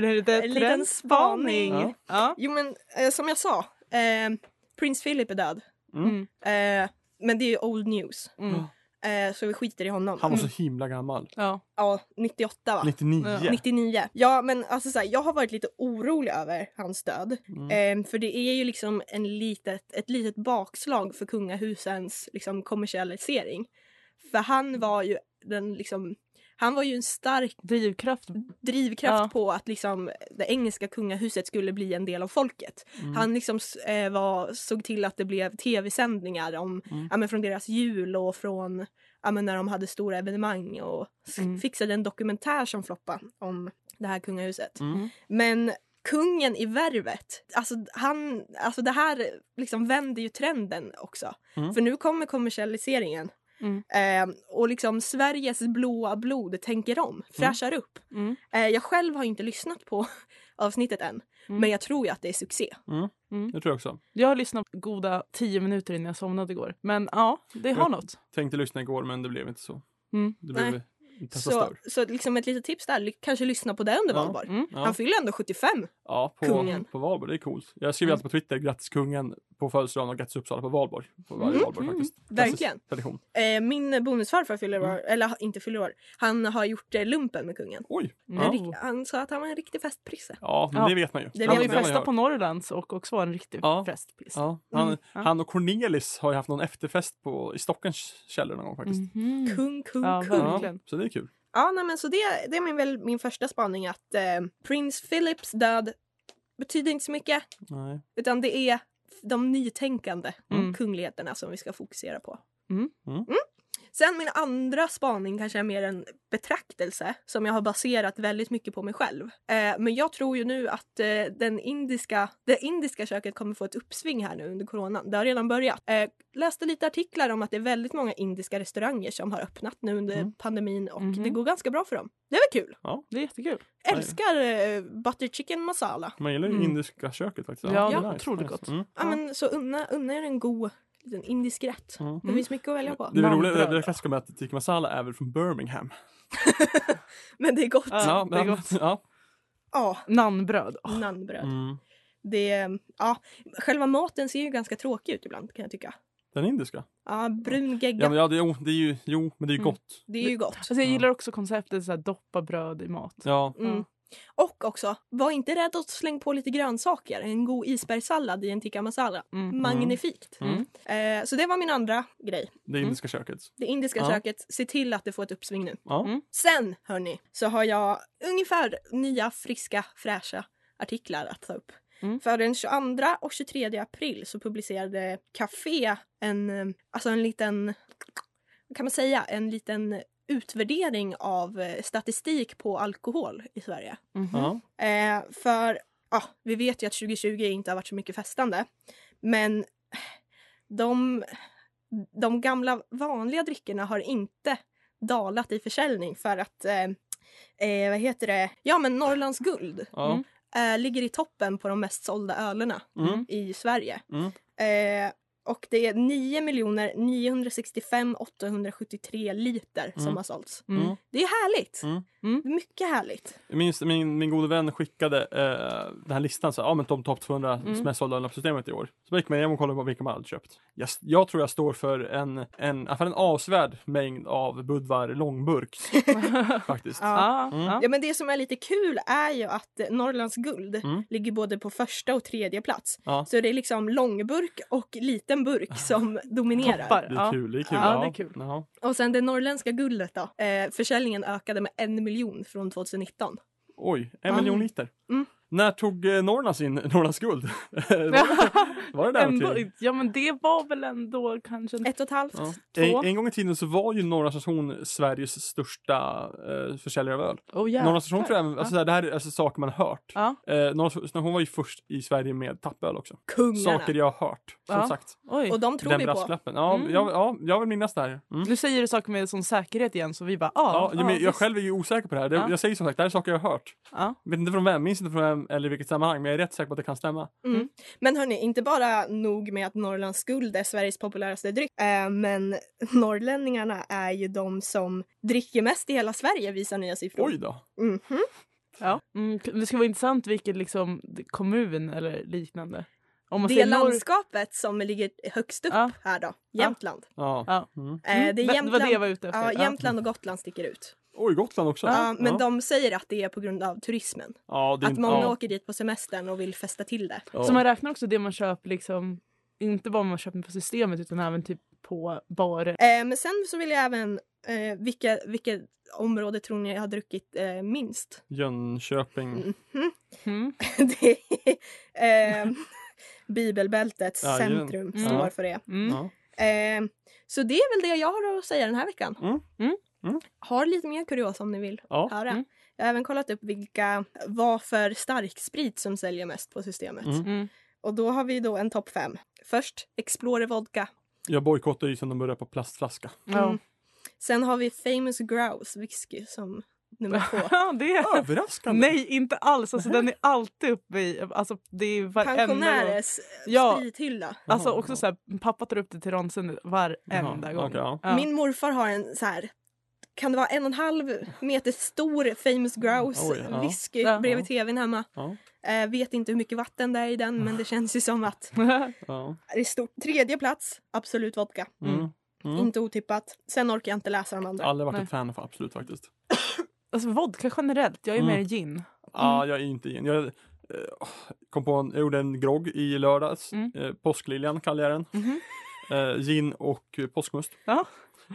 (laughs) det lite En liten spaning. trendspaning? Ja. Jo men eh, som jag sa, eh, prins Philip är död. Mm. Eh, men det är ju old news. Mm. Eh, så vi skiter i honom. Mm. Han var så himla gammal. Ja. Ja, 98 va? 99. Ja. 99. Ja men alltså så här, jag har varit lite orolig över hans död. Eh, för det är ju liksom en litet, ett litet bakslag för kungahusens liksom, kommersialisering. För han var ju den liksom Han var ju en stark Drivkraft. drivkraft Ja. på att liksom det engelska kungahuset skulle bli en del av folket. Mm. Han liksom s- eh, var, såg till att det blev tv-sändningar om, Mm. ja, men från deras jul och från ja, men när de hade stora evenemang och s- Mm. fixade en dokumentär som floppade om det här kungahuset. Mm. Men kungen i värvet, alltså, han, alltså det här liksom vänder ju trenden också. Mm. För nu kommer kommersialiseringen. Mm. Eh, och liksom Sveriges blåa blod tänker om, fräschar upp. Mm. Eh, jag själv har inte lyssnat på (laughs) avsnittet än, Mm. men jag tror ju att det är succé. Det tror jag också. Jag lyssnade på goda tio minuter innan jag somnade igår. Men ja, det har Ja. något. Tänkte lyssna igår men det blev inte så. Mm. Det Nej. blev testa Så, stör. så liksom ett litet tips där, li- kanske lyssna på det under Ja. valborg. Mm. Ja. Han fyller ändå 75. Ja, på, Kungen. på valborg. Det är coolt. Jag skriver Mm. alltid på Twitter grattis kungen på födelsedagen och grattis Uppsala på valborg. På varje Mm. valborg Mm. faktiskt. Verkligen. Klassisk Tradition. Eh, min bonusfarfar fyller år, eller ha- inte fyller år, han har gjort eh, lumpen med kungen. Oj! En Ja. Mm. rik- Han sa att han var en riktig festprisse. Ja, men Ja. det vet man ju. Det Ja, vet Han man vill ju. man festa gör. på Norrlands och också vara en riktig Ja. festpiss. Ja, han, Mm, ja. han och Cornelis har ju haft någon efterfest på, i Stockens källor någon gång faktiskt. Mhm. Kung, kung, Ja, kung. verkligen. Ja, Ja, så det är kul. nej, men så det, det är min, väl min första spaning att eh, prins Philips död betyder inte så mycket, Nej. utan det är f- de nytänkande Mm. kungligheterna som vi ska fokusera på. Mm. Mm. Sen min andra spaning kanske är mer en betraktelse som jag har baserat väldigt mycket på mig själv. Eh, men jag tror ju nu att eh, den indiska, det indiska köket kommer få ett uppsving här nu under coronan. Det har redan börjat. Eh, läste lite artiklar om att det är väldigt många indiska restauranger som har öppnat nu under Mm. pandemin och Mhm. det går ganska bra för dem. Det är väl kul? Det är jättekul. Ja. Älskar eh, butter chicken masala. Man gillar ju Mm. indiska köket faktiskt. Ja, det är ja, otroligt gott. Mm. Ja, men så unna, unna er en god liten indisk rätt. Mm. Det finns mycket att välja på. Det är roligt, det Manbröd. det klassiska med att tikka masala är väl från Birmingham. Men det är gott. Ja, det är men- gott. Ja. Ja, Nannbröd. Åh, naanbröd. Mm. Det, ja, själva maten ser ju ganska tråkig ut ibland kan jag tycka. Den indiska? Ja, brun Ja, gegga. men ja det, jo, det är ju, jo, men det är ju Mm. gott. Det är ju gott. Alltså jag gillar också konceptet så här, doppa bröd i mat. Ja, Mm. Och också, var inte rädd att slänga på lite grönsaker. En god isbergssallad i en tikka masala. Mm. Magnifikt! Mm. Eh, så det var min andra grej. det Mm. indiska köket. Det indiska Ja. köket, se till att det får ett uppsving nu. Ja. Mm. Sen, hörni, så har jag ungefär nya, friska, fräscha artiklar att ta upp. Mm. För den 22 och 23 april så publicerade Café en, eh, alltså en liten, vad kan man säga, en liten utvärdering av eh, statistik på alkohol i Sverige. Mhm. Ja. Eh, för ja, vi vet ju att 2020 inte har varit så mycket festande. Men de, de gamla vanliga dryckerna har inte dalat i försäljning för att eh, eh, vad heter det? Ja, men Norrlands guld Ja. Mm. eh, ligger i toppen på de mest sålda ölerna Mm. i Sverige. Mm. Eh, och det är 9 965 873 liter som Mm. har sålts. Mm. Det är härligt! Mm. Mm. Mycket härligt. Min, min, min gode vän skickade eh, den här listan, så här, ah, men de topp 200 Mm. mest sålda ölen på systemet i år. Så jag gick man igenom och kollade på vilka man hade köpt. Jag, jag tror jag står för en, en, i alla fall en avsevärd mängd av Budvar (laughs) långburk faktiskt. Ja. Ah, Mm. ah. Ja, men det som är lite kul är ju att eh, Norrlands guld Mm. ligger både på första och tredje plats. Ja. Så det är liksom långburk och (laughs) liten burk som dominerar. Toppar. Det är Ja. kul, det är kul. Ja, det är kul. Ja. Och sen det norrländska guldet då. Eh, försäljningen ökade med en miljon från 2019. Oj, en Ja. miljon liter. Mm. När tog eh, Norrland sin (laughs) Norrlands guld? (laughs) var, var det där Ändå- någonting? ja men det var väl ändå kanske... en- Ett och ett halvt. Ja. Två. En, en gång i tiden så var ju Norra station Sveriges största eh, försäljare av öl. Oh, jävlar. Norra station tror jag, alltså, det här är alltså saker man har hört. Ja. Eh, Norra station var ju först i Sverige med tappöl också. Kungarna. Saker jag har hört, som Ja. sagt. Oj. Och de tror Den vi på. brasklappen. Ja, Mm. jag, ja, jag vill minnas det här. Mm. Nu säger du saker med sån säkerhet igen så vi bara Ja, ah, jag, men, ah, jag själv är ju osäker på det här. Det, Ja. Jag säger som sagt, det här är saker jag har hört. Ja. Vet inte från vem, minns inte från vem eller i vilket sammanhang, men jag är rätt säker på att det kan stämma. Men hörni, inte bara nog med att Norrlands guld är Sveriges populäraste dryck. Eh, men norrlänningarna är ju de som dricker mest i hela Sverige visar nya siffror. Oj då! Mhm. Ja. Mm, det skulle vara intressant vilken liksom, kommun eller liknande. Om man Det säger norr- landskapet som ligger högst upp Ja. här då, Jämtland. Ja. Ja. Mm. Eh, Mm, det är va- Jämtland, Det var det jag var ute efter. ja, Ja. Jämtland och Gotland sticker ut. Oj, Gotland också! Ja. men de säger att det är på grund av turismen. Ja, det är Att inte- många ja. åker dit på semestern och vill festa till det. Ja. Så man räknar också det man köper liksom, inte bara vad man köper på systemet utan även typ på barer. Eh, men sen så vill jag även, eh, vilka, vilket område tror ni jag har druckit eh, minst? (laughs) Jönköping. Mhm. Mm. Det (laughs) är eh, Bibelbältets Ja, ju- centrum Mm. står för det. Mm. Ja. Eh, så det är väl det jag har att säga den här veckan. Mm. Mm. Mm. Har lite mer kuriosa om ni vill Ja. höra. Mm. Jag har även kollat upp vilka, vad för starksprit som säljer mest på systemet. Mm. Mm. Och då har vi då en topp fem. Först Explorer Vodka. Jag bojkottar ju sen de började på plastflaska. Mm. Ja. Sen har vi Famous Grouse whisky som nummer två. (laughs) Ja, det Ah, är... Överraskande! Nej, inte alls. Alltså, den är alltid uppe i... Alltså, det är (laughs) varenda gång. Pensionärers Ja. sprithylla. Alltså Jaha. också så här, pappa tar upp det till ronsen varenda Jaha, gång. okej, ja. Ja. Min morfar har en så här kan det vara en och en halv meter stor famous grouse Oj, ja. whisky Ja. bredvid tvn hemma. Ja. Eh, vet inte hur mycket vatten det är i den Ah. men det känns ju som att Ja. det är stort. Tredje plats, Absolut Vodka. Mm. Mm. Inte otippat. Sen orkar jag inte läsa de andra. Aldrig varit Nej. ett fan av Absolut faktiskt. (laughs) alltså vodka generellt, jag är Mm. mer gin. Ja, jag är inte in. Jag eh, kom på en, jag gjorde en grogg i lördags. Mm. Eh, påskliljan kallar jag den. Mhm. Eh, gin och eh, påskmust. Ja.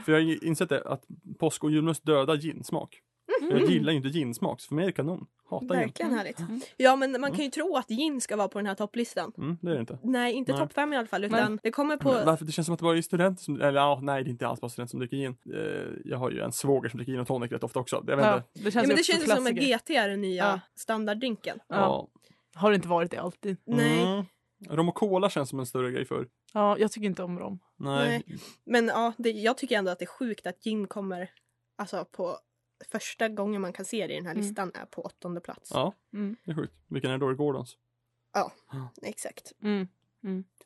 För jag har ju insett det, att påsk och julmust dödar ginsmak. Jag gillar ju inte ginsmak, så för mig är det kanon. Hatar gin. Mm. Verkligen härligt. Ja men man kan ju tro att gin ska vara på den här topplistan. Mm, det är det inte. Nej, inte Nej. Mm. topp fem i alla fall utan det kommer på... Men Varför? Det känns som att det bara är studenter som, eller ja, nej det är inte alls bara studenter som dricker gin. Eh, jag har ju en svåger som dricker gin och tonic rätt ofta också. Jag vet Ja, inte. det känns, Ja, men det också känns ju som att klassiker. GT är den nya Ja. standarddrinken. Ja. Har det inte varit det alltid? Nej. Mm. Rom och cola känns som en större grej för. Ja, jag tycker inte om rom. Nej. Men ja, det, jag tycker ändå att det är sjukt att gin kommer alltså på första gången man kan se det i den här Mm. listan är på åttonde plats. Ja, Mm. det är sjukt. Vilken är då? Gordons? Exakt. Mm.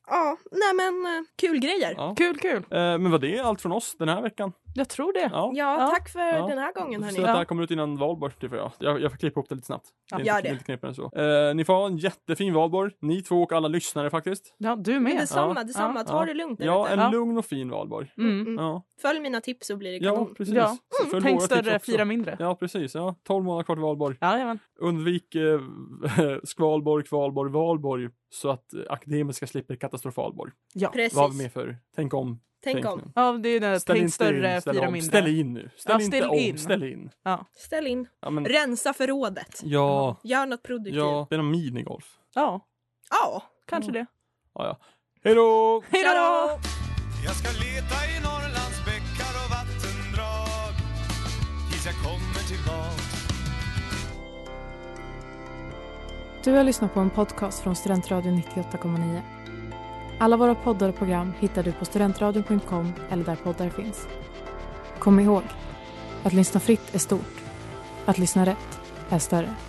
Ja, nej men eh, kul grejer. Ja, Ja. Kul, kul. Eh, men vad det är allt från oss den här veckan. Jag tror det. Ja. Ja. tack för Ja. den här Vi gången får hörni. se att det här kommer ut innan valborg. Det får jag. Jag, jag får klippa ihop det lite snabbt. Ja, det är gör inte, det. inte knepigare än så. Eh, ni får ha en jättefin valborg. Ni två och alla lyssnare faktiskt. Ja, du Men med. detsamma, Ja. detsamma. Ta Ja. det lugnt där Ja, ute. en Ja. lugn och fin valborg. Mm. Ja, Följ mina tips så blir det ja kanon. precis. Ja. Så följ Tänk våra tips större, också. fira mindre. Ja, precis. Ja, 12 månader kvar till valborg. Jajamän. Undvik eh, (laughs) skvalborg, kvalborg, valborg så att eh, akademiska slipper katastrofalborg. Ja. Precis. Vad har vi mer för? Tänk om. Tänk om. nu. ja, det är ju det. Eh, Tänk större, ställ fira om. mindre. Ställ in nu. Ställ Ja, inte ställ om, in. ställ in. Ställ in. Ja, men, Rensa förrådet. ja, Gör något produktivt. Mm. ja. Det är någon minigolf. Ja, ja. kanske det. Ja, ja. Hej då! Hej då! Jag ska leta i Norrlands bäckar och vattendrag Tills jag kommer tillbaks Du har lyssnat på en podcast från Studentradion 98,9. Alla våra poddar och program hittar du på studentradion.com eller där poddar finns. Kom ihåg, att lyssna fritt är stort. Att lyssna rätt är större.